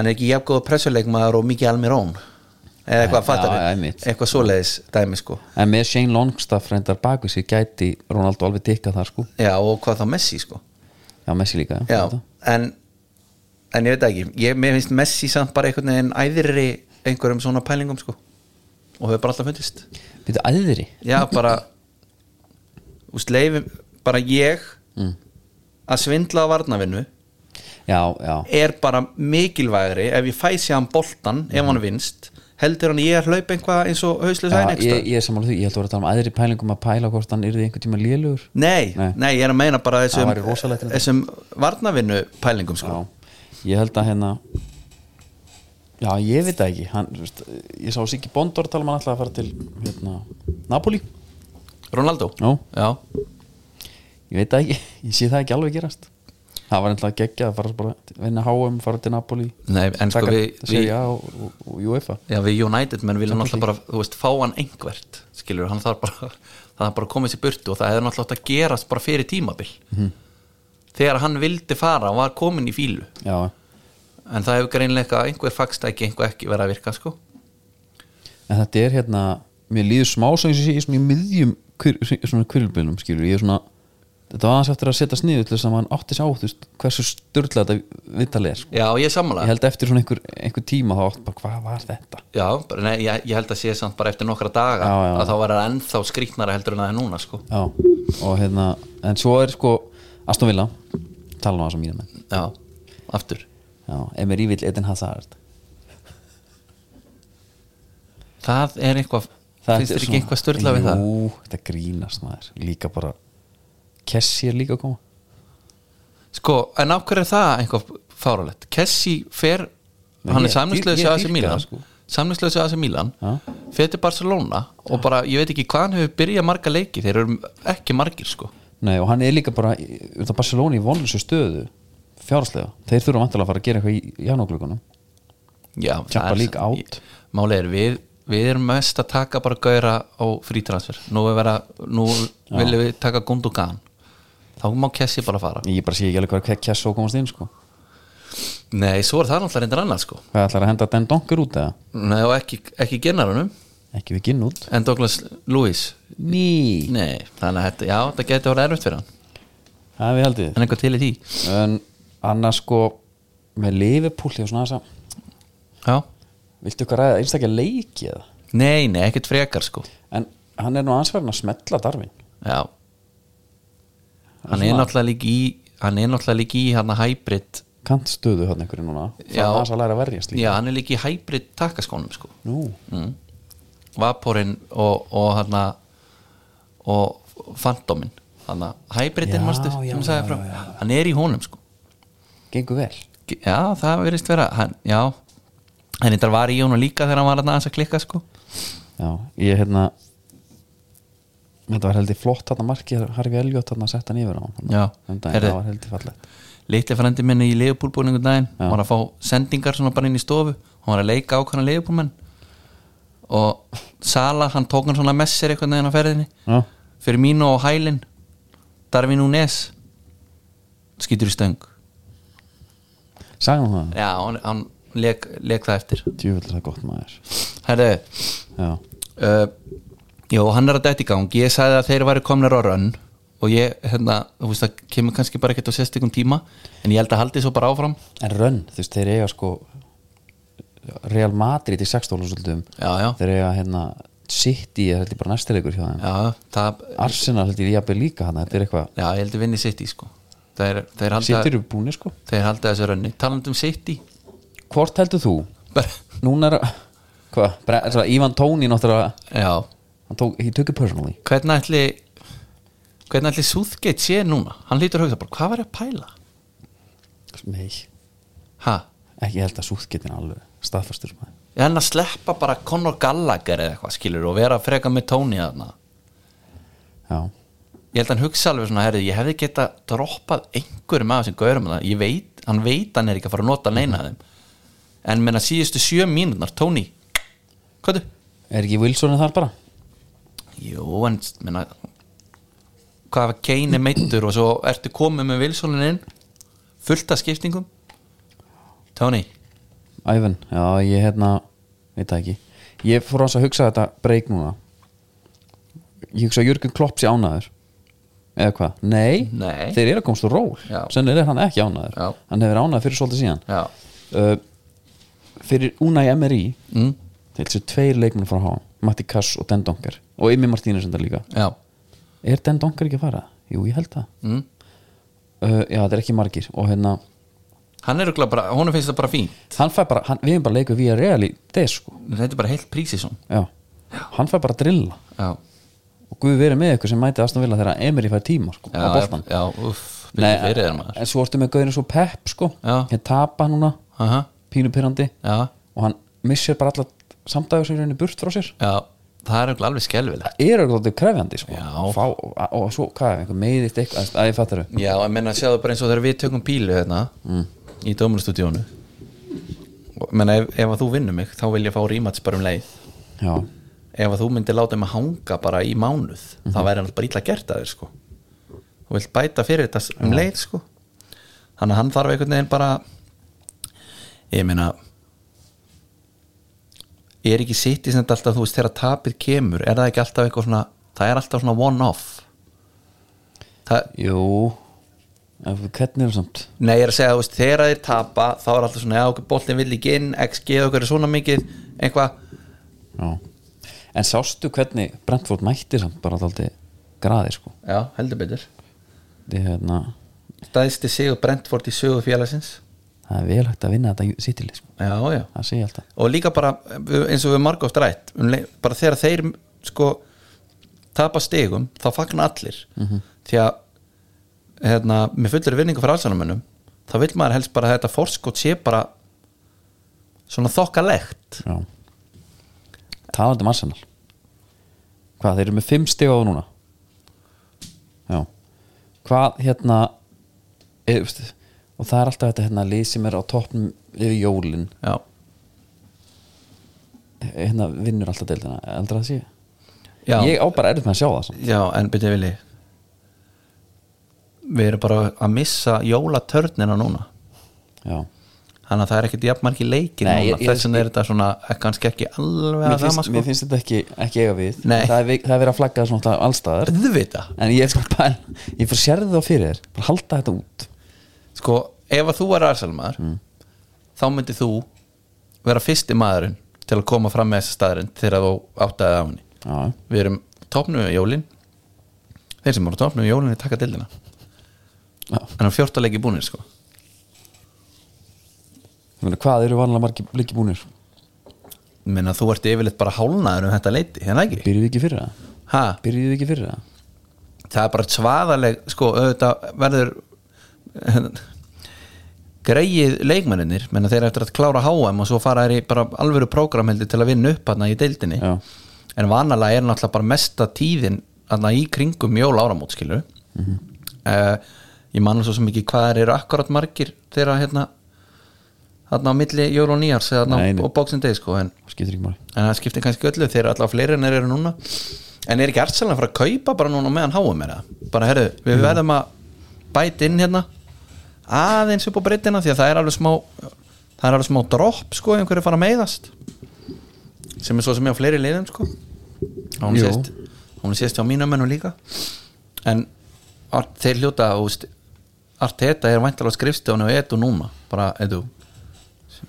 S2: hann er ekki jafngóða pressuleikmaður og mikið almirón eða
S1: Já,
S2: eitthvað fattar
S1: já, einmitt.
S2: eitthvað svoleiðis dæmi sko
S1: en með Shane Longstaff reyndar baku sig gæti Ronaldo alveg tikka þar sko
S2: já og hvað þá Messi sko
S1: já Messi líka
S2: já,
S1: Þetta.
S2: en en ég veit það ekki, ég, mér finnst Messi samt bara einhvern veginn æðri einhverjum svona pælingum sko og hefur bara alltaf fundist
S1: Býttu, æðri
S2: já bara úst leifum, bara ég
S1: Mm.
S2: að svindla á varnavinnu
S1: já, já,
S2: er bara mikilvægri ef ég fæ sér hann boltan ef hann vinst, heldur hann ég að hlaupa einhvað eins og hauslega
S1: Mhm. já
S2: sæn
S1: ég, ég er sammála því ég held að voru að tala um æðri pælingum að pæla hvort hann yrði einhver tíma lélugur
S2: Nei,
S1: Nei.
S2: nei, ég er að meina bara
S1: Það
S2: þessum,
S1: væri rosalegt þetta.
S2: þessum varnavinnu pælingum sko.
S1: Já, ég held að hérna Já, ég veit það ekki hann, þú veist, Ég sá Siggi Bondor tala mann alltaf að fara til hérna, Napoli
S2: Ronaldo
S1: Já.
S2: Já.
S1: Ég veit það ekki, ég sé það ekki alveg gerast Það var ennlega geggja að fara bara að vinna HM, fara til Napoli
S2: Nei, en sko
S1: taka
S2: við, við,
S1: Serie A og, og, og UEFA
S2: já, við United menn vilja náttúrulega bara, þú veist, fá hann einhvert skilur, hann þarf bara það er bara að koma sér burtu og það hefur náttúrulega átt að gerast bara fyrir tímabil
S1: Mhm.
S2: þegar hann vildi fara og var komin í fílu
S1: Já,
S2: en það hefur greinlega einhver fagstæki, einhver ekki verið að virka sko.
S1: en þetta er hérna Mér líður smá sem ég sé í svona í miðjum hver, svona kvirlbjörnum skilur Ég er svona Þetta var aðeins eftir að setja sniðu til þess að mann átti sá þú veist, hversu styrla þetta viðtalið er sko.
S2: Já, ég er
S1: ég
S2: sammála
S1: held eftir svona einhver, einhver tíma þá átt bara hvað var þetta
S2: Já, bara, nei, ég, ég held að sé samt bara eftir nokkra daga
S1: Já, já.
S2: að þá var það ennþá skrýtnara heldur en það er núna sko.
S1: já. og hérna, en svo er sko Aston Villa, tala nú að sem mínum menn
S2: Já, aftur
S1: já, Emery vill Eden Hazard
S2: Það er eitthvað, finnst þér ekki eitthvað störla við það?
S1: Jú, þetta grínast maður, líka bara Kessi er líka að koma
S2: Sko, en af hverju er það eitthvað fáralegt? Kessi fer,
S1: Nei,
S2: hann
S1: ég-
S2: er samlingsleis
S1: ég- ég
S2: að þessi
S1: dýrka
S2: Mílan
S1: það, sko.
S2: samlingsleis að þessi Mílan
S1: Já.
S2: fer til Barcelona og bara, ég veit ekki hvað hann hefur byrjað marga leiki, þeir eru ekki margir sko.
S1: Nei, og hann er líka bara, þetta Barcelona í vonlösu stöðu fjáraslega, þeir þurfa vantilega að fara að gera eitthvað í janúglökunum
S2: Já,
S1: Champa
S2: það er-
S1: League out.
S2: Málið er, við, við erum mest að taka bara gauðra á frítransfer Nú, er vera, nú viljum við taka Gundogan Þá má Kessi bara fara
S1: ég bara sé ekki alveg hvað Kessi og komast inn sko.
S2: Nei, svo er það náttúrulega reyndir annars sko
S1: hvað ætlar að henda Den Donker út eða?
S2: Nei, og ekki, ekki genarunum
S1: ekki við ginn út
S2: En Douglas Lewis
S1: Ný,
S2: Nei, þannig að þetta, já, það geti að vera erfitt fyrir hann
S1: það er við haldið
S2: En eitthvað til í því
S1: en annars sko með Liverpool og svona þess að
S2: Já
S1: viltu ykkur ræða einstakja leiki eða
S2: Nei, nei, ekkert frekar sko
S1: en hann er nú ansverðin að smetla darfin
S2: Já Hann er náttúrulega líka í Hann er náttúrulega líka í hann að hybrid
S1: kantstöðu hann einhverju núna það
S2: Já.
S1: er hans að læra að verjast líka
S2: Já, hann er líka í hybrid takaskónum sko
S1: nú,
S2: Vaporinn og, og hann að og Fantominn Hann að hybridin
S1: Já,
S2: marstu
S1: já, já, já, já.
S2: Hann er í honum sko
S1: gengur vel
S2: Já, það verðist vera hann, Já, hann þetta var í honum líka þegar hann var þarna aðeins að klikka sko
S1: já, ég hérna þetta var heldur flott þarna marki Harfi Elgjótt þarna að setja hann yfir á hann
S2: Já.
S1: þannig að
S2: Heyrðu.
S1: það var heldur fallegt
S2: litli frendi minni í leifupúlbúningu daginn
S1: Já.
S2: var að fá sendingar svona bara inn í stofu hann var að leika ákvæmna leifupúlmenn og Sala, hann tók hann svona með sér einhvern veginn á ferðinni
S1: Já.
S2: fyrir mínu og hælin Darvin Únes skýtur í stöng
S1: sagði hann það,
S2: já, hann, hann leik, leik það eftir
S1: djúvill það gott maður
S2: herðu
S1: já,
S2: uh, jú, hann er að dætt í gang ég sagði að þeir væri komnir á rönn og ég, hérna, þú veist það kemur kannski bara ekkert á sérstikum tíma en ég held að haldi svo bara áfram
S1: en Rönn, þú veist, þeir eiga sko Real Madrid í 16 svolítum
S2: já, já,
S1: þeir eiga hérna City er heldur bara næstilegur hjá þeim
S2: já, það
S1: Arsenal heldur ég jafnvel líka hann þetta er eitthvað,
S2: Já, ég held að vinni City sko Þeir, þeir, halda,
S1: City eru búinir sko
S2: þeir halda þessu rönni Talandi um City
S1: hvort heldur þú,
S2: Bara-
S1: núna er hvað, Bre- svo Ivan Tóni náttúrulega
S2: Já,
S1: hann tók, he took it personally
S2: hvernig ætli Hvernig ætli Southgate sé núna Hann lítur hugsa bara, hvað var ég að pæla
S1: nei,
S2: Ha,
S1: ekki ég held að súðgetin alveg staðfastur maður
S2: ég hann að sleppa bara Conor Gallagher eða eitthvað skilur Og vera freka með Tony þarna
S1: já,
S2: Ég held að hann hugsa alveg svona, herri, ég hefði geta droppað einhverjum af þessum gaurum þarna. Ég veit, hann veit hann er ekki að fara að nota neina af þeim En menna síðustu sjö mínutnar, Tony Hvað þau?
S1: er ekki Wilson þar bara
S2: Jú, en minna, hvað var Kane er meittur og svo ertu komið með Wilsonin inn fullt af skiptingum Tony,
S1: Ivan, já ég hérna veit það ekki, ég fór hans að hugsa þetta breyk núna ég hugsa að Jörgur Klopp sé ánaður eða hvað, nei,
S2: Nei.
S1: þeir eru að komast úr ról,
S2: Já.
S1: sennir er hann ekki ánaður
S2: Já.
S1: hann hefur ánaður fyrir svolítið síðan
S2: já,
S1: uh, fyrir Unai Emery
S2: mm,
S1: þeir þessu tveir leikmenn frá háum Matti Kass og Den Donker og Imi Martínez enda líka
S2: já
S1: er Den Donker ekki að fara? Jú, ég held það
S2: mm.
S1: uh, já, þetta er ekki margir og hérna,
S2: Hann er örugglega bara, honum finnst það bara fín
S1: hann fær bara, hann, við erum bara leikuð via real í þess sko
S2: Þetta er bara heilt prísi svona
S1: já. hann fær bara að drilla
S2: Já,
S1: og Guð verið með ykkur sem mæti Aston Villa þegar Emery fær tíma sko,
S2: já,
S1: á boltan
S2: já, uff,
S1: Nei,
S2: byrjuð fyrir þér maður
S1: en svo ertu með gauðinu svo Pep sko
S2: Já.
S1: hér tapa núna,
S2: Aha,
S1: pínupirrandi
S2: Já,
S1: og hann missir bara allar samdægur sem rauninni burt frá sér
S2: já, það er örugglega alveg skelfilegt
S1: það er eitthvað krefjandi sko
S2: Já.
S1: Fá, og, og svo, hvað, einhver meiðist eitthvað að ég fattar þau,
S2: Já, en menna sjáðu bara eins og þegar við tökum pílu hérna í dómarastúdíónu Menna ef, ef að þú vinnur mig þá vil ég fá rímats bara um leið
S1: já,
S2: ef að þú myndir láta mig hanga bara í mánuð þá væri hann bara illa gert að þér sko þú vilt bæta fyrir þetta s- um leið sko þannig að hann þarf einhvern veginn bara ég meina er ekki sitt í sem þetta alltaf þú veist þegar tapið kemur er það ekki alltaf eitthvað svona það er alltaf svona one off það,
S1: jú en hvernig er það samt
S2: Nei, ég er að segja, þú veist, þegar þeir tapa þá er alltaf svona, já, okkur boltin vill ekki inn XG okkur er svona mikið, einhvað
S1: Já. En sástu hvernig Brentford mætti samt bara alltaf graði sko
S2: já, heldur betur
S1: Þið, hérna,
S2: staðisti sigur Brentford í sögu félagsins
S1: það er vel hægt að vinna þetta sittilið sko,
S2: já, já,
S1: það sé ég alltaf
S2: og líka bara eins og við marga oft rætt um leið- bara þegar þeir sko tapa stigum, þá fagna allir
S1: Mhm.
S2: því að hérna, með fullur vinningu fyrir allsanamönnum þá vill maður helst bara að þetta forskot sé bara svona þokkalegt
S1: Já. Talandi um Arsenal Hvað, þeir eru með fimm stiga á núna Já Hvað, hérna er, veist, og það er alltaf þetta hérna lið sem er á toppnum yfir jólin
S2: já,
S1: hérna vinnur alltaf deildina, heldur það sé
S2: já.
S1: Ég á bara erfitt með að sjá það samt.
S2: Já, en byrja vilji Við erum bara að missa jólatörnina núna
S1: Já,
S2: Þannig að það er ekkert jafnmarki leikir
S1: Nei,
S2: núna
S1: ég- ég-
S2: Þess vegna er þetta svona eh, kannski ekki alveg
S1: mér
S2: að
S1: finnst,
S2: sama sko
S1: mér finnst þetta ekki, ekki eiga við
S2: Nei.
S1: það er, vi- það er verið að flagga þessu náttúrulega allstaðar
S2: Auðvitað.
S1: en ég er sko bara ég fyrir sérði þá fyrir þér, bara halda þetta út
S2: Sko, ef að þú er arsalmaður Þá myndir þú vera fyrsti maðurinn Til að koma fram með þessa staðurinn Þegar þú áttaði á henni
S1: já,
S2: Við erum topnum í jólin Þeir sem eru topnum í jólin er taka dildina
S1: Já.
S2: En á 14 leiki búnir sko
S1: ég meina hvað eru vanlega margir líki búnir
S2: Minna þú ert yfirleitt bara hálnaður um þetta leiti Hérna ekki?
S1: byrjuðu ekki fyrir það,
S2: Ha?
S1: byrjuðu ekki fyrir það
S2: það er bara svaðaleg sko, auðvitað verður greið leikmennir menna þeir eru eftir að klára HM og svo fara þeir í bara alvöru prógramhildi til að vinna upp hann í deildinni
S1: Já.
S2: en vanalega er náttúrulega bara mesta tíðin þarna í kringum mjól áramót skilur mm
S1: Mhm.
S2: ég man svo sem ekki hvað þeir eru akkurat margir þegar hérna þarna á milli jól og nýjars eða þarna
S1: Nei, nei.
S2: á- á bóksin degi sko en,
S1: skiptir ekki máli
S2: en það skiptir kannski öllu þeir eru alltaf fleiri en þeir eru núna en er ekki Arsenal að fara að kaupa bara núna á meðan háum er það bara herru, við verðum að bæta inn hérna aðeins upp á breytina því að það er alveg smá það er alveg smá dropp sko ef einhverju fara að meiðast sem er svo sem ég á fleiri liðum sko og hún
S1: Jú.
S2: sést hún sést á mínum mennum líka en ar, þeir hljóta úst, Arteta er væntalega skrifstjónu og etu núna bara etu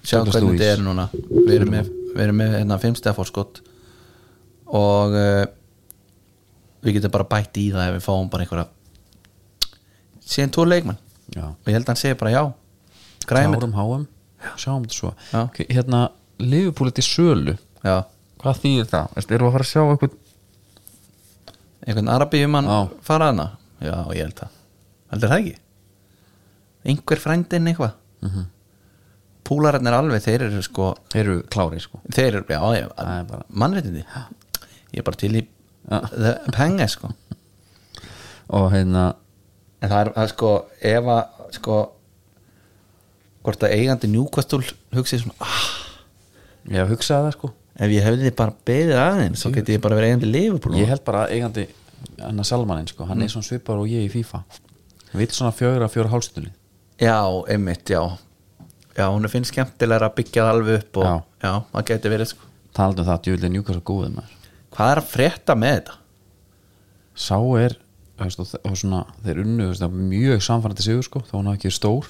S2: sjá
S1: Douglas
S2: hvernig
S1: Luiz.
S2: þetta er núna við erum með, við erum með hérna, fimmstega fórskott og uh, við getum bara bætt í það ef við fáum bara einhverja síðan tvo leikmann
S1: Já.
S2: og ég held að hann segi bara já græmið
S1: Klárum háum, sjáum þetta svo
S2: Já.
S1: Ok, Hérna, Liverpool þetta í sölu
S2: já,
S1: Hvað þýðir það? Veist, erum við að fara að sjá eitthvað
S2: einhvern arabíum hann
S1: Já.
S2: fara hana já, ég held það, heldur það ekki einhver frændin eitthvað
S1: Mhm.
S2: mm -hmm. púlararnir alveg þeir eru sko
S1: Eru klárið sko
S2: þeir eru, já, ég,
S1: Það er bara-
S2: mannréttindi ég er bara til í the penga sko en
S1: Og hérna,
S2: það er, það er sko, ef að sko, hvort að eigandi njúkvastúl hugsið svona, ah,
S1: ég hef hugsað það sko
S2: ef ég hefði bara beðið aðeins, þá geti ég bara verið eigandi leifupúl
S1: Ég held bara að eigandi Anna Salmanin sko, hann er svona svipar og ég í FIFA Vill svona fjögur að fjögur hálstunni
S2: já, einmitt, já já, hún er finn skemmtilega að byggja það alveg upp og,
S1: Já.
S2: já, það geti verið sko
S1: Talandi um það að djúlega njúkast og góðið maður
S2: hvað er að frétta með þetta?
S1: Sá er, þú veist, og þe- og svona Þeir unnu, þú veist, það mjög samfærandi sigur sko Þá hún hafi ekki verið stór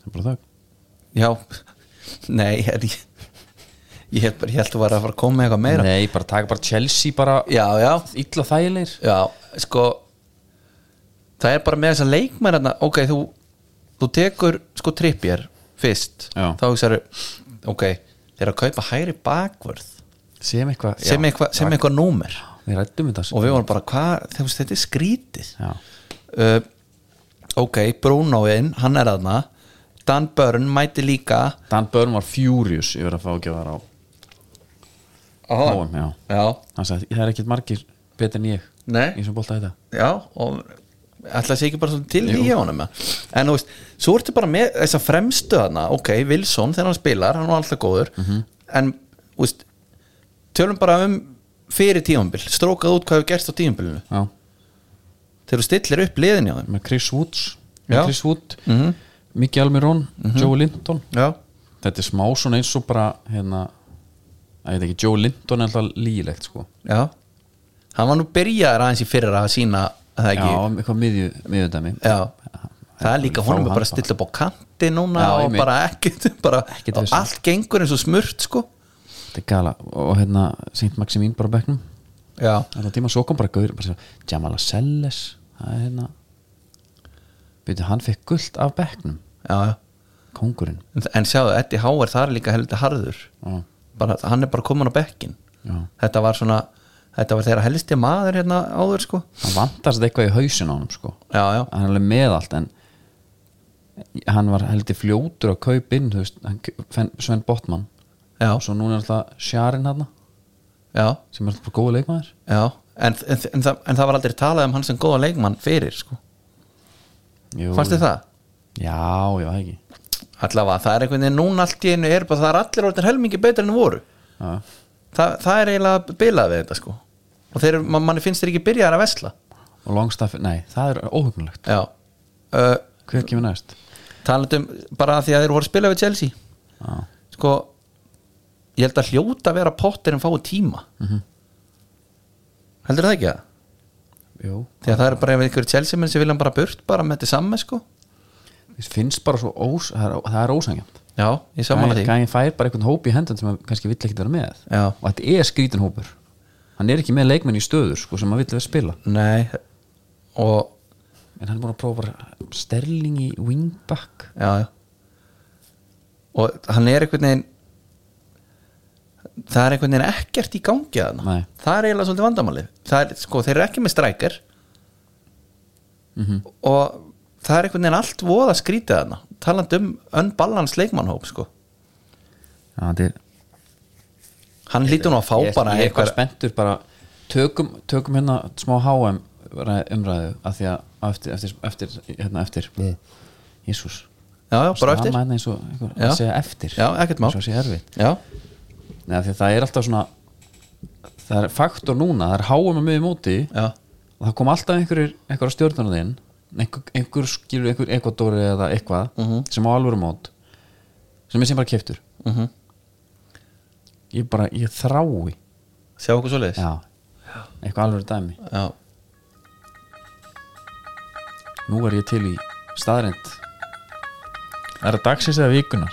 S1: Það er bara þögn
S2: já, nei ég, ég, ég, held bara- ég held þú var að fara að koma með eitthvað meira
S1: Nei, bara taka bara Chelsea bara
S2: já, já,
S1: illa þægilegir
S2: Já, sko Það er bara með þess að leikmenn hérna, Ok, þú, þú tekur sko trippjér fyrst
S1: Já.
S2: Þá hugsaðu, ok Þeir eru að kaupa hægri bakvörð
S1: sem eitthvað
S2: sem eitthvað sem eitthva númer
S1: við rættum þetta sko.
S2: og við vorum bara, hvað, þú veist, þetta er skrítið
S1: já,
S2: uh, ok, Brunoinn, hann er aðna Dan Börn mæti líka
S1: Dan Börn var furious yfir að fá ekki að vera á HM, já.
S2: já,
S1: hann sagði það er ekkit margir betur en ég
S2: Nei.
S1: ég sem bólta þetta
S2: já og ætla að sé ekki bara svolítið til í honum eða? en þú veist, svo ertu bara með þessa fremstu þarna, ok, Wilson þegar hann spilar, hann var alltaf góður
S1: Mhm.
S2: en, þú veist tölum bara um fyrir tímambil strókað út hvað hefur gerst á tímambilinu
S1: já
S2: þegar þú stillir upp liðin hjá þeim
S1: með Chris Woods
S2: Já. Mhm.
S1: með Chris Wood mm -hmm. Miki Almirón Joe Linton
S2: já,
S1: þetta er smá svona eins og bara hérna að ég veit ekki Joe Linton er alltaf lígilegt sko
S2: já hann var nú byrjaður aðeins í fyrra að sína það
S1: já,
S2: ekki,
S1: eitthvað miðju, miðjudæmi
S2: Já. það er líka
S1: Fá
S2: honum er bara
S1: hann
S2: að stilla upp á kanti núna
S1: Já,
S2: og
S1: einmitt.
S2: bara ekkert bara,
S1: Ekkert
S2: og
S1: vesen.
S2: allt gengur eins og smurt sko
S1: þetta er gala og hérna Saint Maximin bara á bekknum
S2: já,
S1: þetta tíma svo kom bara gauður bara sér, Jamala Selles það er hérna byrju hann fekk gullt af bekknum
S2: já, já
S1: kongurinn
S2: En sjáðu, Eddie Hauer þar er líka heldur harður
S1: Já.
S2: bara, Hann er bara komin á bekkin
S1: Já.
S2: Þetta var svona Þetta var þeirra helsti maður hérna áður sko
S1: hann vandast eitthvað í hausin á hann sko
S2: Já, já,
S1: hann er alveg með allt en hann var heldur fljótur að kaupa inn þú veist, hann, Sven- Sven Botman
S2: já,
S1: og svo núna er alltaf Sjarin hann
S2: já,
S1: sem er alltaf bara góða leikmaður
S2: já. En, en, en, það, en það var aldrei talað um hann sem góða leikmann fyrir sko
S1: Jú,
S2: Fannst þið það?
S1: já, já, það ekki
S2: Allavega, það er einhvern veginn núna allt í einu er bara það er allir orðin helmingi betur enn voru
S1: já,
S2: Þa, Það er eiginlega bilað við þetta sko Og þeir, eru- man, manni finnst þeir ekki byrjaðar að vesla
S1: og Longstaff, nei, það er óhugnulegt
S2: Já uh,
S1: hver kemur næst
S2: Talandum bara því að þeir voru að spila við Chelsea
S1: já,
S2: sko ég held að hljóta að vera pottir en fáið tíma heldur það ekki að
S1: jú
S2: því að það er bara ef einhverjum Chelsea menn sem vilja hann bara burt bara með þetta samme sko
S1: Mér finnst bara svo ós, það er, það er ósangjant
S2: já, ég samanlega því
S1: Gæin fær bara einhvern hóp í hendan sem hann kannski vill ekkert vera með
S2: Já.
S1: og þetta er skrítin hópur hann er ekki með leikmenn í stöður sko, sem hann vill vera að spila
S2: nei og
S1: en hann er búin að prófa bara sterling í wingback
S2: já, já og hann er einhvern veginn það er einhvern veginn ekkert í gangi að
S1: Nei.
S2: hann það er eiginlega svolítið vandamálið það er, sko, þeir eru ekki með strækir
S1: Mhm.
S2: -hmm. og það er einhvern veginn allt voða skrítið að hann talandi um unbalans leikmannhóp sko
S1: Já, þetta er
S2: Hann hlýtur nú að fá
S1: ég,
S2: bara
S1: ég er eitthvað
S2: einhver-
S1: spenntur bara tökum, tökum hérna smá HM ræ- umræðu að því að á eftir, eftir, eftir hérna eftir Jésús
S2: Já, já, bara eftir
S1: hérna eins og einhver,
S2: Já.
S1: að segja eftir
S2: Já, ekkert mál.
S1: Eins og það sé erfitt
S2: Já,
S1: Nei, af því að það er alltaf svona það er faktor núna, það er HM að miðið móti
S2: já,
S1: og það kom alltaf einhverjir einhverja stjórnarnar inn einhver, einhver skilur einhver ekvatóri eða eitthvað sem á alvöru mót sem er sem bara keftur
S2: Mhm.
S1: ég bara, ég þrái
S2: sjá okkur svo leiðis
S1: já, eitthvað alvöru dæmi
S2: já,
S1: nú er ég til í staðrind er það dagsins eða vikunar?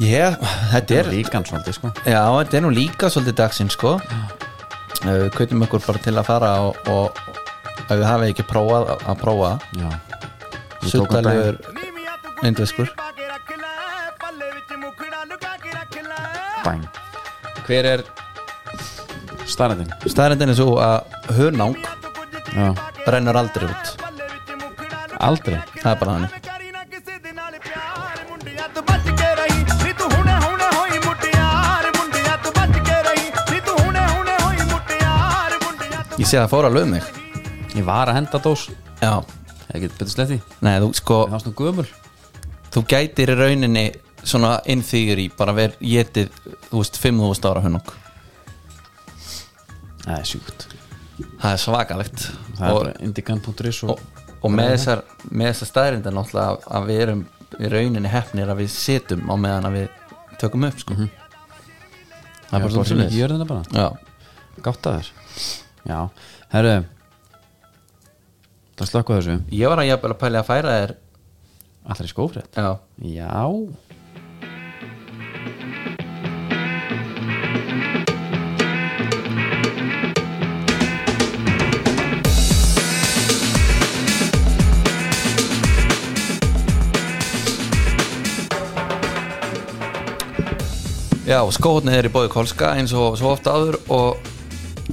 S2: Ég- þetta er
S1: vikan svolítið sko
S2: Já, þetta er nú líka svolítið dagsinn sko Eh, Við kveitum ykkur bara til að fara og, og ef við hafið ekki prófað að- að prófa
S1: já, Við tókum
S2: Suttalegur indveskur
S1: bæn hver er staðrindin?
S2: Staðrendin er svo að hörnang
S1: já,
S2: rennur aldrei út
S1: aldrei
S2: Það er bara þannig Ég sé að það fór að lög mig
S1: ég var að henda dós
S2: Já,
S1: ég get betur sletti
S2: nei þú sko
S1: það er svona gömul
S2: þú gætir í rauninni svona in theory bara verið getið, þú veist, 5.000 ára hunnok
S1: það er sjúkt
S2: það er svakalegt
S1: það er
S2: og,
S1: bara indigan.is og,
S2: og, og með þessar, með þessar staðrindar náttúrulega að, að við erum í rauninni hefnir að við setjum á meðan að við tökum upp sko. það er bara
S1: bara
S2: svona
S1: hringi í jörðina bara
S2: já,
S1: gátta þér já, herru það slökku þessu
S2: ég var að jafnvel að pæli að færa þér
S1: allar í skófrétt
S2: já,
S1: já
S2: já skóðnið er í bóði Kolska eins og svo ofta áður og,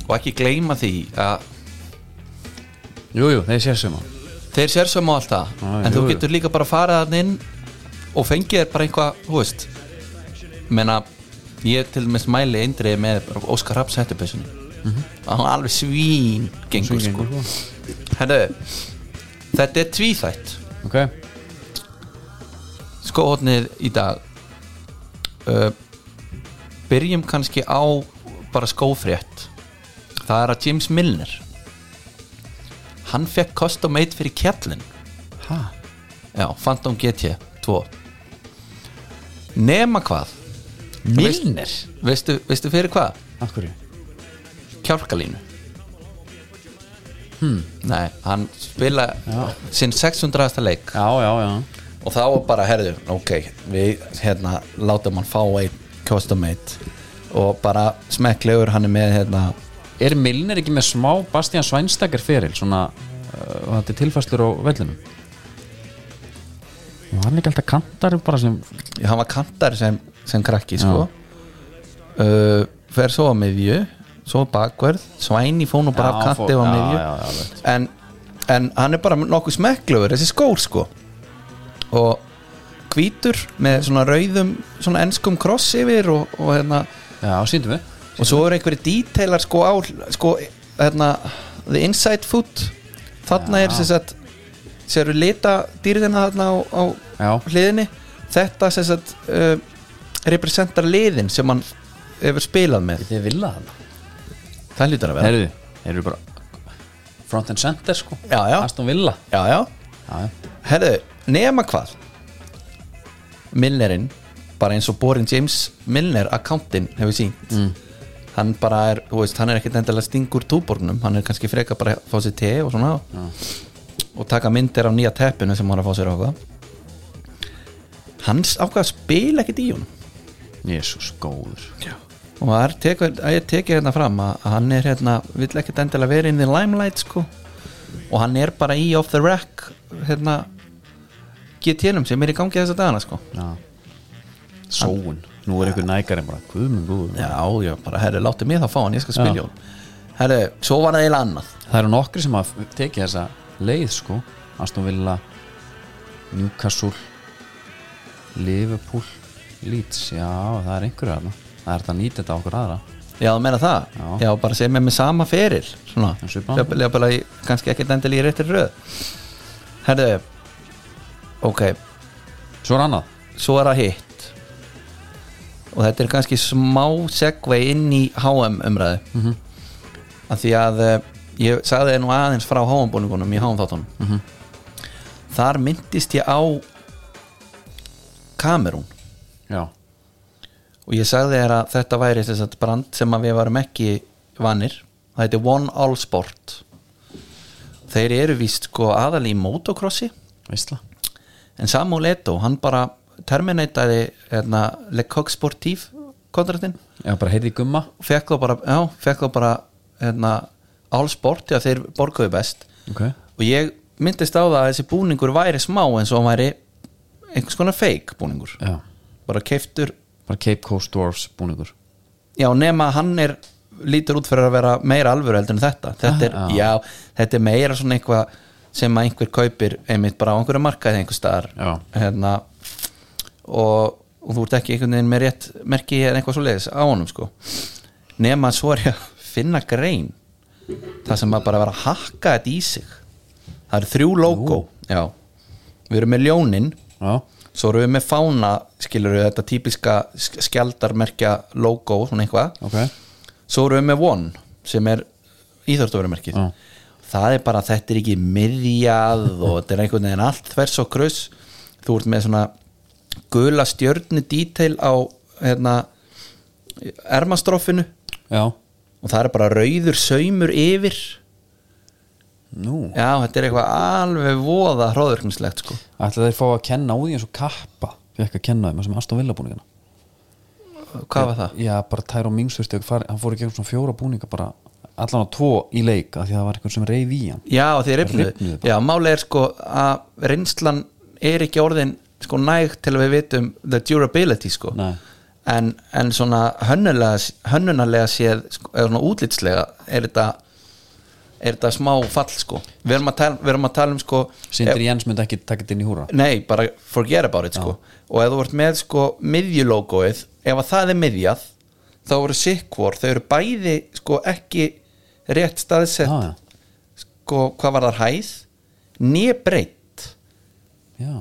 S2: og ekki gleyma því að
S1: jújú, jú, þeir sér sem á
S2: þeir sér sem á allt það
S1: Já,
S2: en
S1: jú,
S2: þú
S1: jú.
S2: getur líka bara að fara þann inn og fengið þér bara einhvað þú veist menna, ég til dæmis mæli eindriði með bara Óskar Raps hættupessunni hann er alveg svín gengur sko Herðu, þetta er tvíþætt
S1: ok,
S2: skóhóttnið í dag uh, byrjum kannski á bara skófrétt það er að James Milner hann fekk custom made fyrir kjallin
S1: ha
S2: Já, Phantom GT 2 Nema hvað
S1: Milner?
S2: Veistu, veistu fyrir hvað?
S1: af hverju?
S2: Kjálkalínu hmm. Nei, hann spila sinn 600. leik
S1: já, já, já
S2: og þá var bara, herðu, ok við, hérna, látum hann fá einn custom made og bara smekklegur hann er með hérna,
S1: er Milner ekki með smá Bastian Svænstakar feril svona uh, og þetta er tilfæslur á vellinum og hann er ekki alltaf kantar bara sem
S2: hann var kantar sem, sem krakki, sko uh, fer svo á miðju svo bakverð, svæni fónu bara af
S1: Já, fó-
S2: kanti á
S1: já,
S2: miðju
S1: já, já, veit.
S2: en, en hann er bara nokkuð smekklegur þessi skór sko og hvítur með svona rauðum svona enskum kross yfir og, og, hérna,
S1: já, síndum við
S2: og svo eru einhverju detailar sko á sko, hérna, the inside foot þarna er sem sagt séru lita dýrðina þarna á, á
S1: Já.
S2: hliðinni þetta sem sagt uh, representar liðin sem hann hefur spilað með
S1: þið vilja það
S2: það lítur að vera
S1: Herðu, þeir eru bara front and center sko
S2: Já, já.
S1: Aston Villa
S2: já, já,
S1: já,
S2: Herðu, nema hvað Milnerinn bara eins og Borin James Milner akkántin hefur sínt hann bara er, þú veist, hann er ekkert endilega stingur túbornum, hann er kannski freka bara að fá sér te og svona og taka myndir af nýja teppinu sem hann er að fá sér ákvað hans ákvað að spila ekkert í honum
S1: Jésús góður
S2: og það er tekur, að ég teki hérna fram að að hann er hérna, vill ekkert endilega vera inn í limelight sko og hann er bara í off the rack hérna GT-num sem er í gangi þessa dagana sko
S1: já. Sóun, nú er einhver nægari bara, guð minn góður
S2: já, já, bara herri, láti mig það fá hann, ég skal spilja hún herri, svo var það eiginlega annað
S1: Það eru nokkri sem að tekið þessa leið sko Aston Villa Newcastle Liverpool Leeds, já það er einhverju þarna það er þetta að nýta þetta á okkur aðra
S2: Já, þú meina það?
S1: Já.
S2: bara segja með með sama feril Svona,
S1: Já, svipað.
S2: jafnvel jafnvel að ég- kannski ekkert endil í réttir röð Herðu Ok,
S1: Svo er annað
S2: svo er það hitt Og þetta er kannski smá segvei inn í HM umræðu -hmm. Af því að eh, ég sagði þér nú aðeins frá HM búningunum í HM þáttunum -hmm. Þar myndist ég á Kamerún
S1: Já,
S2: og ég sagði þér að þetta væri þess að brand sem að við varum ekki vanir það heiti One All Sport þeir eru víst sko aðal í motocrossi
S1: veistla
S2: en Samuel Eto, hann bara terminataði hérna, Le Coq Sportif kontratinn
S1: Já, bara heyrði í gumma
S2: fekk þá bara, já, fekk þá bara hérna, All Sport, já þeir borguðu best
S1: Ok
S2: og ég myndist á það að þessi búningur væri smá eins og hann væri einhvers konar fake búningur
S1: Já,
S2: bara keiftur
S1: bara Cape Coast Dwarfs búningur
S2: Já, nema að hann er lítur út fyrir að vera meira alvöru heldur en þetta þetta er,
S1: Ah, já.
S2: já, þetta er meira svona eitthvað sem að einhver kaupir einmitt bara á einhverju markaði einhver staðar
S1: Já.
S2: hérna og, og þú ert ekki einhvern veginn með rétt merki eða eitthvað svo leiðis á honum sko nema að svo er ég að finna grein það sem að bara vera að hakka þetta í sig það eru þrjú logo já, við erum með ljónin
S1: Já,
S2: svo erum við með fána skilur við þetta típiska sk- skjaldarmerkja logo, svona eitthvað
S1: ok
S2: svo erum við með One sem er íþjóðstofurumerkið
S1: Já.
S2: það er bara, þetta er ekki miðjað og þetta er einhvern veginn allt þvers og krus þú ert með svona gula stjörnu detail á hérna ermastrófinu
S1: Já,
S2: og það er bara rauður saumur yfir
S1: nú
S2: já, þetta er eitthvað alveg voða hróðurknislegt sko
S1: Ætla þeir fá að kenna á því eins og kappa Fekk að kenna þeim sem Aston Villa búningana
S2: hvað var það?
S1: Já, bara Tyrone Mings þurfti að fara Hann fór í gegn svona fjóra búninga bara Allan á tvo í leik af Því að það var einhvern sem reyf í hann
S2: já, og þið rifnuðu,
S1: Rifnuðu bara.
S2: já, máli er sko að reynslan er ekki orðin sko næg til að við vitum the durability sko
S1: Nei.
S2: en, en svona hönnulega, hönnunarlega séð sko, eða svona útlitslega er þetta er þetta smá fall sko við erum að tala, við erum að tala um sko
S1: Sindri Jens myndi ekki taka þetta inn í húra
S2: nei, bara forget about it sko og ef þú ert með sko miðjulogoið ef að það er miðjað þá eru sikkvor, þau eru bæði sko ekki rétt staðsett
S1: Já,
S2: sko hvað var þar hæð nýbreytt
S1: já,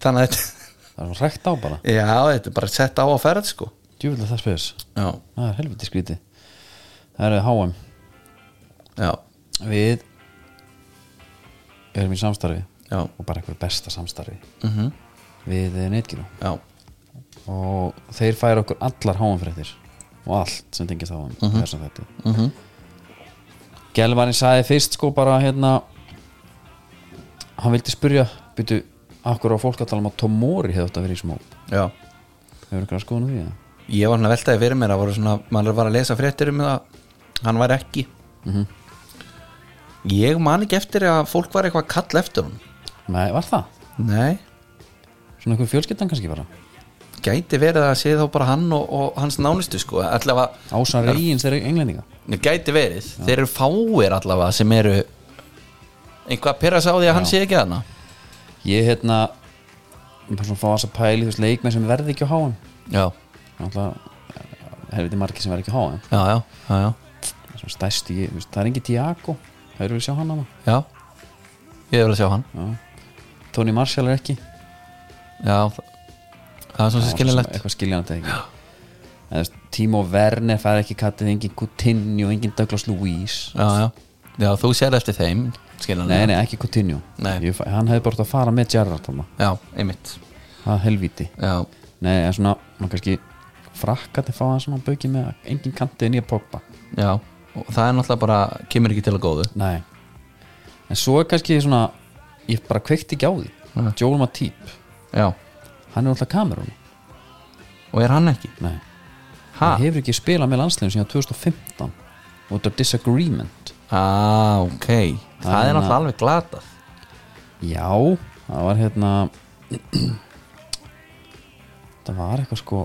S2: þannig að þetta,
S1: það er svona rekt á bara
S2: já, þetta er bara sett á að ferð sko
S1: Djúvilega það spes
S2: já,
S1: Það er helviti skríti Það eru HM
S2: já,
S1: Við erum í samstarfi
S2: já,
S1: og bara eitthvað besta samstarfi
S2: mm
S1: við Netgyru
S2: já
S1: og þeir færa okkur allar háanfréttir og allt sem tengist á hann uh þess að þetta uh sagði fyrst sko bara hérna hann vildi spyrja byrju, akkur á fólk að tala um að Tomori hefði átt að vera í smóp
S2: já
S1: hefur eitthvað skoðun á því eða?
S2: ég var hann að veltaði fyrir mér að voru svona maður var að lesa fréttir um það hann var ekki Mhm. ég man ekki eftir að fólk var eitthvað að kalla eftir hún
S1: Nei, var það?
S2: nei,
S1: Svona einhver fjölskyldan kannski bara
S2: gæti verið að sé þá bara hann og, og hans nánustu sko allavega,
S1: Ása Reigins þeir englendinga
S2: gæti verið þeir eru fáir allavega sem eru einhvað að pyrra sá því að hann sé ekki þarna
S1: Ég hérna ég bara svona fá þess að pæli þú veist leikmenn sem verði ekki á háan
S2: já,
S1: Náttúrulega eh, helviti margir sem verði ekki á háan
S2: já, já, já, já,
S1: svona stæstu, ég, þú veist, það er engi Tiago það eru við sjá hann hana
S2: já. ég vil að sjá hann
S1: Tony Marshall er ekki
S2: já, það- það er svona sem skiljanlegt
S1: eitthvað skiljanlegt eða ekki En þú veist, Timo Werner fær ekki kattið engin Coutinho, engin Douglas Luiz
S2: já, já, já, þú sér eftir þeim skiljanlegt,
S1: nei, nei, ekki Coutinho
S2: Nei.
S1: Ég, fæ- hann hefði bara átt að fara með Gerrard þarna.
S2: já, einmitt
S1: það er helvíti
S2: já,
S1: nei, en svona, maður kannski frakkaði fá hann svona bauki með að engin kantið nýja Pogba
S2: já og það er náttúrulega bara, kemur ekki til að góðu
S1: nei, en svo er kannski svona ég bara kveikti ekki á því
S2: Nei.
S1: Joel Matip,
S2: já,
S1: hann er alltaf kamerun
S2: og er hann ekki
S1: nei
S2: ha,
S1: hann hefur ekki spilað með landsliðum síðan 2015 út af disagreement
S2: ah, ok
S1: er hann
S2: það er
S1: að-
S2: náttúrulega alveg glatað
S1: já, það var hérna það var eitthvað sko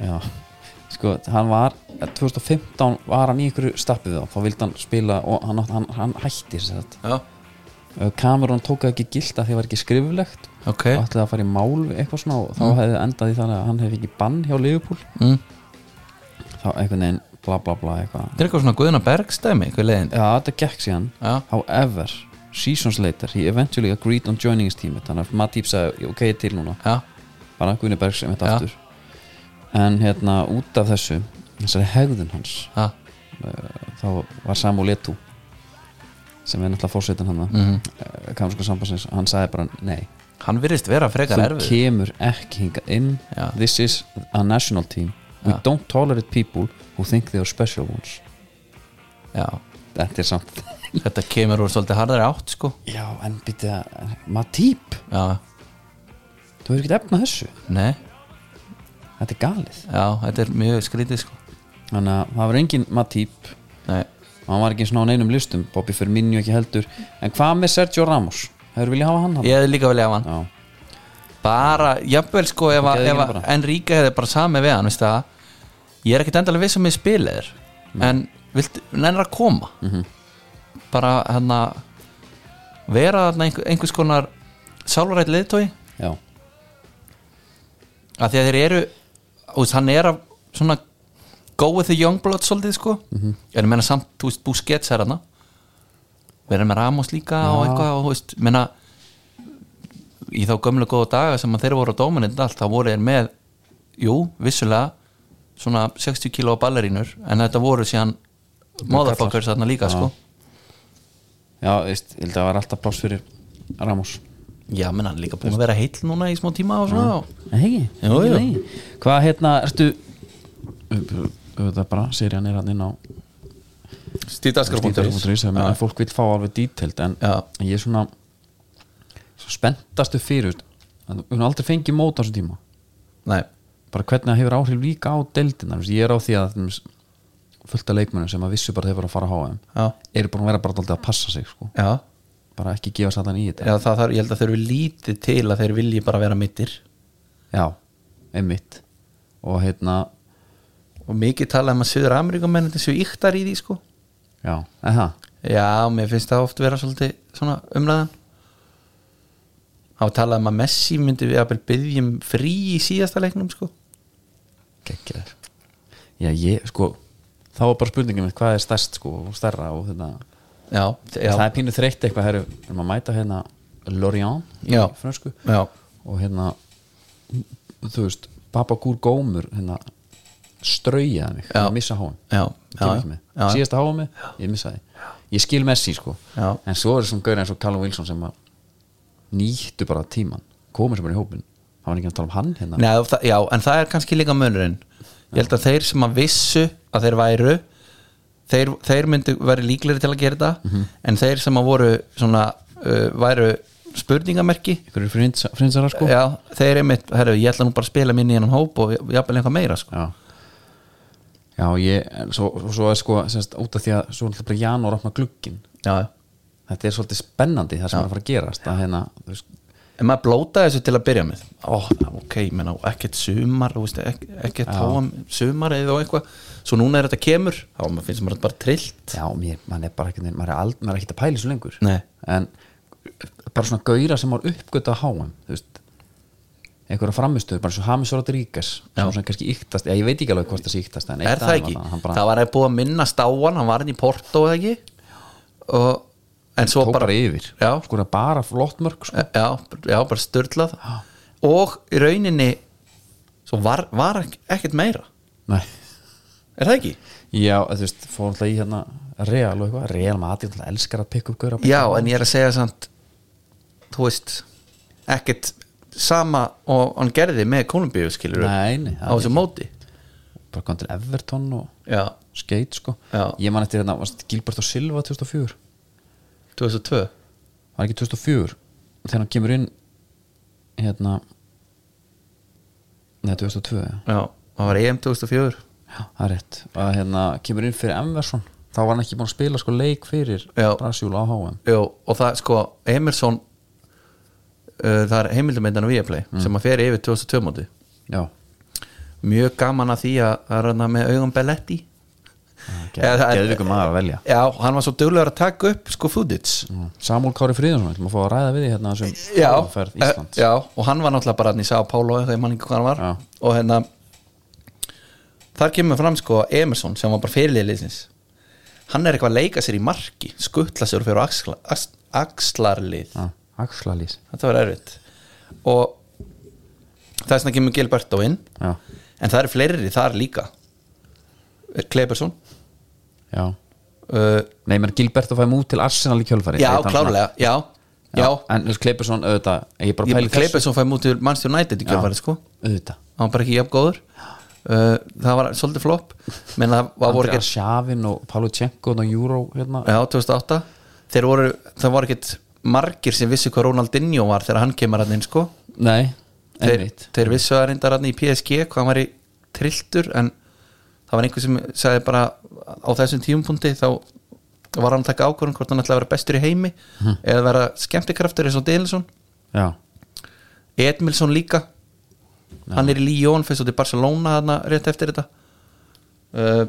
S1: já sko, hann var 2015 var hann í einhverju stappið þá, þá vildi hann spila og hann, átt- hann, hann hætti sér þetta
S2: já,
S1: Uh, Kamerún tók það ekki gilt að því var ekki skriflegt
S2: ok
S1: og ætlaði að fara í mál við eitthvað svona og þá
S2: Eh? Mm.
S1: hefði endað í þannig að hann hefði ekki bann hjá Liverpool
S2: mm.
S1: þá einhvern veginn bla bla bla eitthvað
S2: þetta er eitthvað svona Guðuna Bergstæmi eitthvað leiðin
S1: Já, þetta gekk síðan
S2: já,
S1: However, seasons later he eventually agreed on joining his team þannig að Matip sagði, ok, ég er til núna
S2: já,
S1: bara Guðni Bergs einmitt
S2: Já.
S1: aftur en hérna út af þessu þessari hegðun hans
S2: já
S1: þá var Samu Letu sem er náttúrulega fórsetin hann mm.
S2: mhm.
S1: kamsku sambandsins, hann sagði bara nei
S2: hann virðist vera frekar
S1: þú
S2: erfið
S1: kemur ekki hingað inn
S2: Já.
S1: this is a national team we
S2: Já.
S1: don't tolerate people who think they are special ones
S2: já,
S1: þetta er samt
S2: þetta kemur úr svolítið harðari átt sko
S1: já, en býtið
S2: eh,
S1: að Matip,
S2: já,
S1: þú hefur ekkert efna þessu
S2: nei,
S1: þetta er galið
S2: já, þetta er mjög skrítið sko
S1: þannig að það var engin Matip
S2: nei,
S1: hann var ekki svona á neinum listum Bobby Firmino ekki heldur en hvað með Sergio Ramos hefur viljað hafa hann hann
S2: ég hefði líka vel ef hann
S1: já,
S2: bara, jafnvel sko ef, að-
S1: Geðveikin
S2: ef að
S1: bara.
S2: Enrique hefði bara samið við hann veist það, ég er ekkert endalega viss um ég spila þér, en vilt nennir að koma
S1: Mhm.
S2: bara hann að vera þarna einhver, einhvers konar sálvarætt liðtói,
S1: já,
S2: af því að þeir eru þú veist, hann er að svona go with the young blood svolítið sko en ég meina samt, þú veist, Busquets er hann verður með Ramos líka og eitthvað og þú veist, meina í þá gömlu góða daga sem að þeir voru á dómininn allt, þá voru þeir með jú, vissulega svona 60 kíló ballerínur en þetta voru síðan motherfuckers þarna líka
S1: Já.
S2: sko
S1: já, veist, ég held að það var alltaf pláss fyrir Ramos
S2: já, menn hann er líka búin að vera heill núna í smá tíma og svona og
S1: Nei, ekki,
S2: Jú,
S1: ekki
S2: jú.
S1: lengi. hvað hérna, ertu auðvitað bara, serían er hann inn á stíðdagskrá.is, sem að fólk vil fá alveg dítelt en
S2: Já.
S1: ég er svona svo spenntastu fyrir veist, að við höfum aldrei fengið mót á þessum tíma
S2: nei,
S1: bara hvernig það hefur áhrif líka á deildina Þú veist, ég er á því að til dæmis, fullt af leikmennum sem að vissu bara þeir voru að fara á HM
S2: já,
S1: eru búin að vera bara dálítið að passa sig sko.
S2: já
S1: bara ekki gefa satan í þetta
S2: Já, það þarf, ég held að þeir eru lítið til að þeir vilji bara vera mittir
S1: já, einmitt og hérna,
S2: og mikið talað um að Suður Ameríkumennin séu yktar í því sko
S1: já, en það
S2: Já, mér finnst það oft vera svolítið svona umræðan Há talað um að Messi myndi við að byggjum frí í síðasta leiknum sko
S1: geggjaður já, ég, sko, þá er bara spurningin mitt hvað er stærst, sko, og stærra og þetta,
S2: Já, já,
S1: það er pínu þreytt eitthvað herru, erum að mæta hérna Lorient í
S2: Já.
S1: frönsku
S2: já,
S1: og hérna, þú veist Babagúr Gómur, hérna straujaði mig,
S2: Já.
S1: að missa háum
S2: já, já,
S1: kemur ekki með,
S2: já, já,
S1: síðasta háum með, ég missaði ég skil Messi, sko
S2: Já.
S1: en svo er þessum gaurið eins og Callum Wilson sem að nýttu bara tíman komur sem er í hópin, það var ekki að tala um hann hérna
S2: Nei, það, já, en það er kannski líka munurinn Ég held að þeir sem að vissu að þeir væru þeir, þeir myndu verið líklegri til að gera þetta en þeir sem að voru svona uh, væru spurningamerki
S1: ykkur eru frins- frinsarar, sko
S2: Já, þeir er mitt, herru, ég ætla nú bara að spila minni í hennan hóp og jafnvel eitthvað meira sko.
S1: já já, ég, en svo, og svo er sko semst, út af því að svo náttúrulega bara janúar opna glugginn
S2: Já, já
S1: þetta er svolítið spennandi það sem er að fara að gerast að hérna, þú veist,
S2: En maður blótaði þessu til að byrja með Ó, ok, ég menna, ekkert sumar þú veist, ek, ekkert háam sumar eða og eitthvað Svo núna er þetta kemur þá maður finnst maður þetta bara trillt
S1: já, mér, mann er bara ekki maður er, ald, maður er ekki að pæli svo lengur
S2: Nei.
S1: en bara svona gauðra sem var uppgöta á háum, þú veist einhverja framistöður, bara svo Hamis Rodríguez sem,
S2: Já.
S1: sem kannski íktast, já, ég veit ekki alveg hvort það sé íktast en eitt
S2: Er það
S1: dæmi
S2: ekki?
S1: var hann bara
S2: Það var að búið að minna stáan, hann var hann í Porto eða ekki og, En svo
S1: tók
S2: bara
S1: bara yfir
S2: Já,
S1: sko bara flott mörg sko.
S2: já, já bara störlað Og í rauninni Svo var, var ek- ekkert meira
S1: Nei.
S2: Er það ekki?
S1: já, þú veist, fór alltaf í hérna Real og eitthvað, Real maður alltaf elskar að pikka upp gauðra
S2: Já, en ég er að segja samt þú veist, ekkert sama og hann gerði með Kolumbíu skilur
S1: Nei, nei,
S2: á þessu móti
S1: bara kom til Everton og
S2: Já,
S1: skeit sko
S2: Já.
S1: ég man eftir hérna, varst Gilbert og Silva 2004
S2: 2002
S1: var ekki 2004 þegar hann kemur inn hérna neða 2002 já.
S2: Já, það var EM 2004
S1: Já, það er rétt að hérna kemur inn fyrir Emerson þá var hann ekki búin að spila sko leik fyrir
S2: Já.
S1: Brasíul á HM
S2: Jó, og það sko, Emerson uh, það er heimildumendan á Viaplay
S1: Mm.
S2: sem að fer yfir 2002 móti
S1: já,
S2: mjög gaman að því að það er hann með augum Belletti Eða- eða-
S1: Geðvikum maður að velja
S2: Já, hann var svo duglegur að taka upp sko footage
S1: Samúl Kári Fríðarsson, ætlum að fá að ræða við því hérna sem
S2: já,
S1: ferð
S2: eh,
S1: Íslands
S2: já, og hann var náttúrulega bara hann í Sá Pálo eða ég man ekki hvað hann var
S1: Já.
S2: og hérna þar kemur fram sko Emerson sem var bara fyrirliðliðsins hann er eitthvað að leika sér í marki skuttla sér og fyrir á axla, ax- axlarlið
S1: Já, Axlalís
S2: þetta var erfitt og þess vegna kemur Gilberto inn
S1: Já,
S2: en það eru fleiri þar líka Eh, Klebersson
S1: já
S2: uh,
S1: Nei, menn Gilbert að fæm út til Arsenal í kjölfari
S2: já,
S1: Leit hann svona-
S2: klárlega, já, já, já.
S1: En Kleipersson, auðvitað, ég er bara að pæla í þessu.
S2: Klebersson fæði mútið Manchester United í kjöfarið sko
S1: Auðvitað
S2: hann var bara ekki jafn góður uh, það var svolítið flopp menn það var voru
S1: Andrea
S2: ekkert
S1: Sjavin og Pálu Tjenko og Júró hérna
S2: já, 2008 þeir voru, það voru ekkert margir sem vissi hvað Ronaldinho var þegar hann kemur hann inn sko
S1: Nei,
S2: þeir,
S1: einmitt
S2: þeir vissu að reyndar hann í PSG hvað hann var í trilltur en það var einhver sem sagði bara á þessum tíumpunkti þá var hann að taka ákvörðum hvort hann ætlaði að vera bestur í heimi eða vera skemmtikraftur eins og Dilsson
S1: Já,
S2: Edmilson líka hann er í Lyon, fyrst og til Barcelona þarna rétt eftir þetta uh,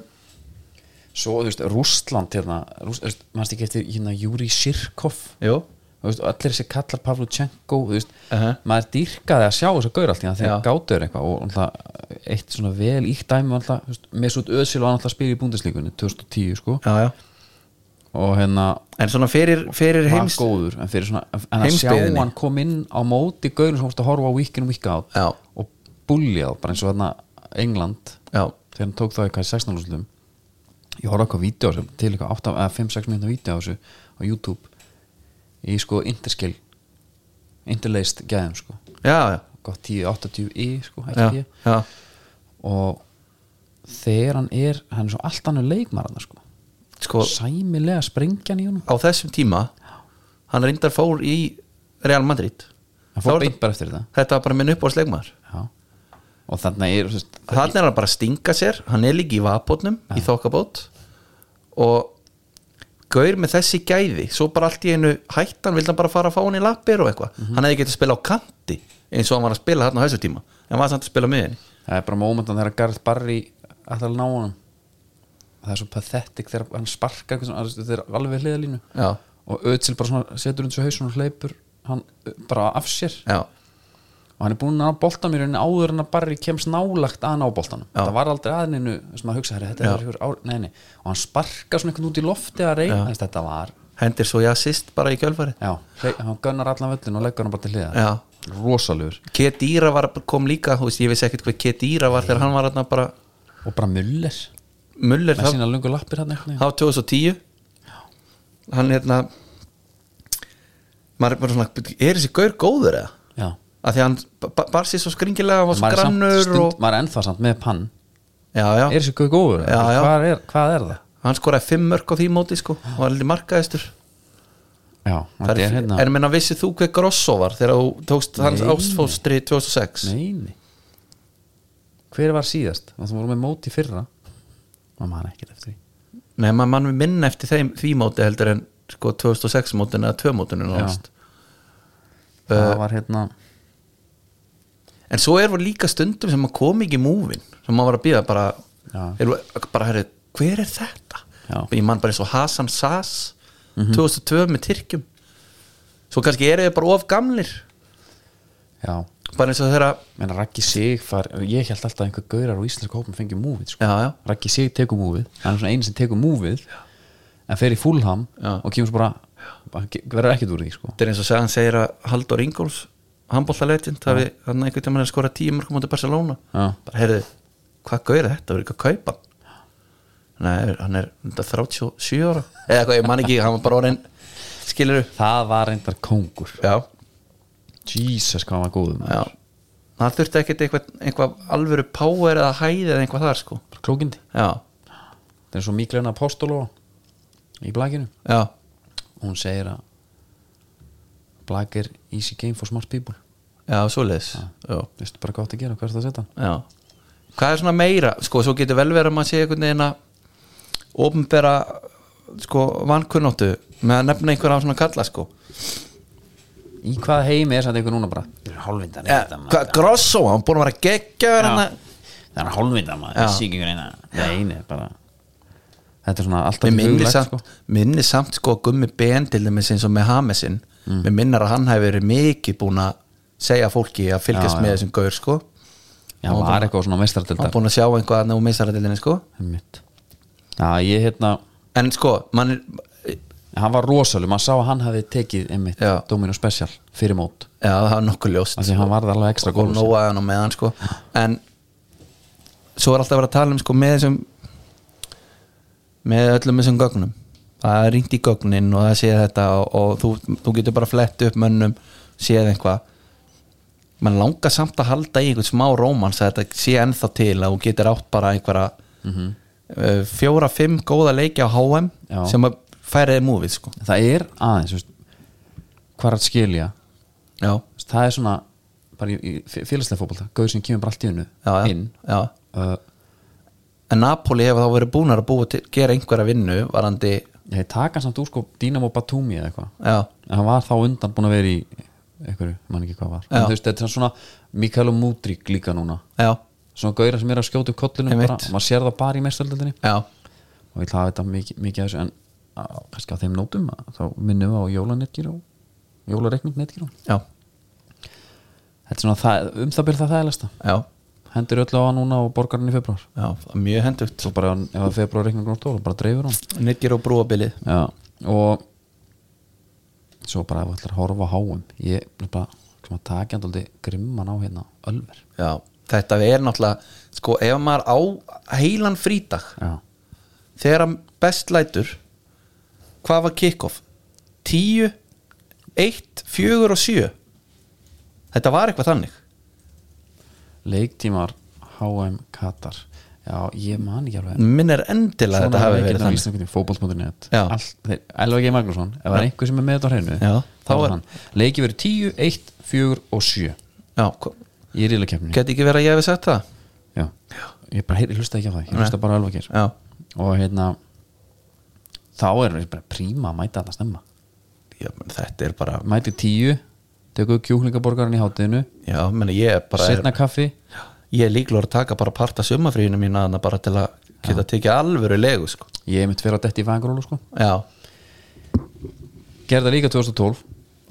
S1: svo, þú veist, Rússland hérna Rúss, þú veist, mannst ekki eftir hérna Júri Sirkov
S2: jú
S1: þú veist, og allir þessi kallar Pavlu Tjenko þú veist,
S2: Uh-huh.
S1: maður dýrkaði að sjá þessu gaur allt í hann
S2: Já.
S1: þegar gátu er eitthvað og alltaf, eitt svona vel íkt dæmi alltaf, þú veist, Mesut Özil var alltaf að spila í búndislíkunni 2010 sko
S2: já, já.
S1: og hérna
S2: en svona fyrir, fyrir
S1: var
S2: heims
S1: góður en, fyrir svona, en að sjá
S2: Heimsbyggðinni.
S1: hann kom inn á móti gaurin sem vorst að horfa á week in week out
S2: Já.
S1: og bullja á bara eins og hérna England
S2: já,
S1: þegar hann tók það eitthvað í 16 úrslutum ég horfði á eitthvað vídeo á þessu til eitthvað 8 eða 5-6 minna vídeo á þessu á YouTube í sko interskill interleist gæðum sko
S2: já, já,
S1: gott 10-80 í sko
S2: já,
S1: ekki ég
S2: já.
S1: og þegar hann er hann er svo allt annar leikmarðan sko
S2: Sko,
S1: sæmilega sprengjan í honum
S2: á þessum tíma hann reyndar fór í Real Madrid
S1: hann
S2: Þá
S1: fór
S2: er
S1: beint bara eftir þetta
S2: þetta var bara minn uppáðslegmaður
S1: Já. og þannig er þú veist,
S2: þannig er hann bara að stinga sér hann er líka í vapotnum, í þokkabót og gaur með þessi gæði, svo bara allt í einu hættan, vildi hann bara fara að fá hann í lappir og eitthvað
S1: Mhm.
S2: hann hefði getið að spila á kanti eins og hann var að spila þarna á þessu tíma en var samt að spila miðinni
S1: það er bara mómentan þegar Garð Barri ætlar að ná honum það er svo pathetic þegar hann sparkar eitthvað svona, það er alveg hliðalínu
S2: Já.
S1: og Ötsil bara svona setur undir svo hausun og hleypur hann ö, bara af sér
S2: já,
S1: og hann er búin að ná boltan mér en áður en að Barri kemst nálagt að ná boltanum
S2: Já.
S1: það var aldrei aðninu sem að hugsa herri, þetta
S2: Já.
S1: er fyrir ár, nei, nei. og hann sparkar svona eitthvað út í lofti að reyna Þess, þetta var,
S2: hendir svo ég assist bara í kjölfarið
S1: já, hley, hann gönnar allan völlin og leggur hann bara til hliðar
S2: já,
S1: rosalegur
S2: Kedýra var, kom líka þú veist, ég vissi ekkert hvað Kedýra var þegar hann var hann bara
S1: og bara muller
S2: Muller,
S1: með
S2: það
S1: sína lungu lappir hann eitthvað
S2: það var 2010 hann hérna maður er bara svona er þessi gaur góður eða?
S1: já
S2: að því að hann ba- ba- bar sér svo skringilega hann var svo
S1: maður er, samt,
S2: grannur
S1: stund,
S2: og
S1: maður er ennþá samt með pann
S2: já, já,
S1: er þessi guð góður?
S2: Já, já.
S1: Hvað, er, hvað er það?
S2: hann skoraði fimm mörg á því móti sko og var heldur markaðistur
S1: já,
S2: Það
S1: þetta er hérna
S2: en menna vissið þú hver Grosso var þegar þú tókst hans
S1: Nei.
S2: ástfóstri 2006
S1: neini hver var síðast? það voru með móti í fyrra maður man ekki eftir því
S2: Nei, maður mann við minna eftir þeim, því móti heldur en sko 2006 mótin eða 2 mótinu nánast Uh,
S1: það var hérna
S2: En svo er voru líka stundum sem maður kom ekki í múvin sem maður var að býða bara,
S1: Já.
S2: er, bara herri, hver er þetta?
S1: Já.
S2: Ég man bara eins og Hasan Sass 2002 með Tyrkjum Svo kannski eru þið bara of gamlir
S1: já
S2: bara eins og þeirra
S1: menn Raggi Sig far ég held alltaf að einhver gaurar á íslenska hópum fengi múfið sko.
S2: Já, já,
S1: Raggi Sig tekur múfið hann er svona einu sem tekur múfið en fer í fullham
S2: Já.
S1: og kemur svo bara bara ge- verður ekkert úr því sko
S2: þetta er eins og segja hann segir að Halldór Ingolfs handbóltalegin, það við hann einhvern tímann er að skora 10 mörgum átti Barcelona
S1: Já.
S2: bara heyrðu, hvað gauðir þetta, verður ekki að kaupa hann? Nei, hann er þetta 37 ára eða eitthvað, ég man ekki, hann var bara orðin skilur
S1: það var reyndar kongur
S2: Já,
S1: Jesus hvað hann var góður maður.
S2: Já Það þurfti ekkert eitthvað, eitthvað alvöru power eða hæð eða eitthvað þar sko
S1: Bara klókindi
S2: Já,
S1: það er svo Míklena Apostoló í blakinu
S2: já,
S1: hún segir að blak er easy game for smart people
S2: já, svoleiðis já.
S1: veistu bara hvað átt að gera, hvað er það að setja
S2: já Hvað er svona meira? Sko, svo getur vel verið að maður sé einhvern veginn að ofinbera sko vankunnóttu með að nefna einhver á svona kalla sko
S1: í hvað heimi er þetta einhver núna bara það er hálfvindan
S2: ja, hva, Grosso, hann búin að vera geggjaður hérna. hann að-
S1: það er hálfvindan maður,
S2: Já.
S1: það sé ekki einhver eina það einu, bara þetta er svona alltaf
S2: Mér minnir
S1: huglægt,
S2: samt,
S1: sko.
S2: minni samt sko að gummi ben til dæmis eins og með Hamesin
S1: Mm.
S2: Mér minnar að hann hefur verið mikið búin að segja fólki að fylgjast
S1: Já, já.
S2: með þessum gaur sko
S1: Já, hann var eitthvað svona
S2: Hann
S1: meistardildar
S2: búin að sjá einhvað að ná meistaradildinni sko
S1: Já, ég hérna
S2: En sko, mann er
S1: hann var rosalum, maður sá að hann hafi tekið einmitt
S2: Já.
S1: Domino Special fyrir mót
S2: Já, það var nokkuð ljóst
S1: Af því hann varð alveg ekstra góður.
S2: Og nóaði hann á meðan sko En svo er alltaf verið að tala um sko með þessum með öllum þessum gögnum það er ringt í gögnin og það sé þetta og, og þú, þú getur bara flett upp mönnum séð einhvað mann langar samt að halda í einhvern smá rómans að þetta sé ennþá til að hún getur átt bara einhverja mm fjóra, fimm góða leiki á HM
S1: Já.
S2: sem að færiði múfið sko
S1: það er aðeins þú veist, hvað er að skilja þú
S2: já,
S1: veist, það er svona bara í, í félagslega fótbolta gauður sem kemur bara allt í unnu
S2: já, já,
S1: inn
S2: já.
S1: uh,
S2: en Napoli hefur þá verið búnar að búa til, gera einhverja vinnu varandi
S1: ég taka samt úr sko Dynamo Batumi eða eitthvað
S2: já,
S1: en hann var þá undan búin að vera í einhverju, mann ekki hvað var en,
S2: Já.
S1: þú veist, þetta er svona Mikael Múdrík líka núna
S2: já,
S1: svona gauðra sem er að skjóta upp kollunum
S2: Einmitt.
S1: bara, og maður sér það bara í mestaröldinni
S2: já
S1: og ég ætla að hafa þetta mikið, mikið af þessu en að, kannski á þeim nótum að, þá minnum við á jólanetgíró jólareikning netgíró
S2: já,
S1: þetta er svona það, um það byrð það þægilegsta
S2: já,
S1: hendur öllu á hann núna og borgar hann í februar
S2: já það er mjög hendugt
S1: svo bara ef að februar reikningur á stóla bara dreifur hann
S2: Nyrgir og brúabilið
S1: Já, og svo bara ef við ætlar að horfa á háum ég er bara sem að taka hann aldrei grimman á hérna Ölver
S2: já, þetta er náttúrulega sko, ef maður á heilan frídag
S1: Já,
S2: þegar hann best lætur hvað var kickoff? 10, 1, 4 og 7 þetta var eitthvað þannig
S1: leiktímar HM Katar Já, ég man ekki alveg
S2: minn er endilega þetta hafi verið þannig
S1: þannig Fótbolls.net
S2: Já.
S1: Elva G. Magnússon, ef það er einhver sem er með þetta á hreinu
S2: Já,
S1: þá
S2: þá er-
S1: er hann Leiki verið 10, 1, 4 og 7
S2: já, ko-
S1: í ríðleikefni
S2: geti ekki verið að ég hefði sagt það
S1: Já, ég bara heyri, hlusta ekki á það Ég
S2: Nei.
S1: hlusta bara á Elva G.
S2: já,
S1: Og hérna þá er bara príma að mæta þetta stemma
S2: já menn, þetta er bara
S1: mæti tíu tekur kjúklingaborgarinn í hátinu
S2: já, menn, ég er bara er,
S1: setna kaffi
S2: ég er líklega að taka bara parta sumafríðinu mína þarna bara til að geta tekið alvöru legu sko.
S1: ég hef mitt fyrir að detti í vangarólu sko
S2: já,
S1: gerði það líka 2012,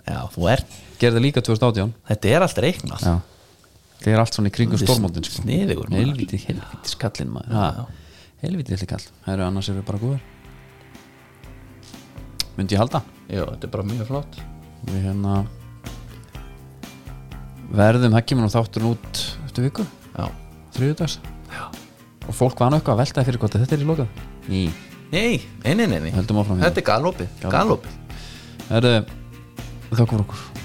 S2: já, þú ert
S1: gerði það líka 2018
S2: þetta er allt reiknað
S1: já það er allt svona í kringum
S2: Þetta er
S1: stórmóndin sko
S2: sniðugur, maður.
S1: helviti, helviti skallin maður ha, helviti litli kall, það eru annars eru bara góður myndi ég halda
S2: já, þetta er bara mjög flott
S1: við hérna verðum, það kemur nú þátturinn út eftir viku,
S2: já,
S1: þriðudags og fólk vanu eitthvað að velta fyrir hvort að þetta er í lokað í,
S2: nei, nei, nei, nei, nei.
S1: höldum áfram hérna.
S2: þetta er galopið
S1: Galopið.
S2: galopið
S1: Herðu, þakka fyrir okkur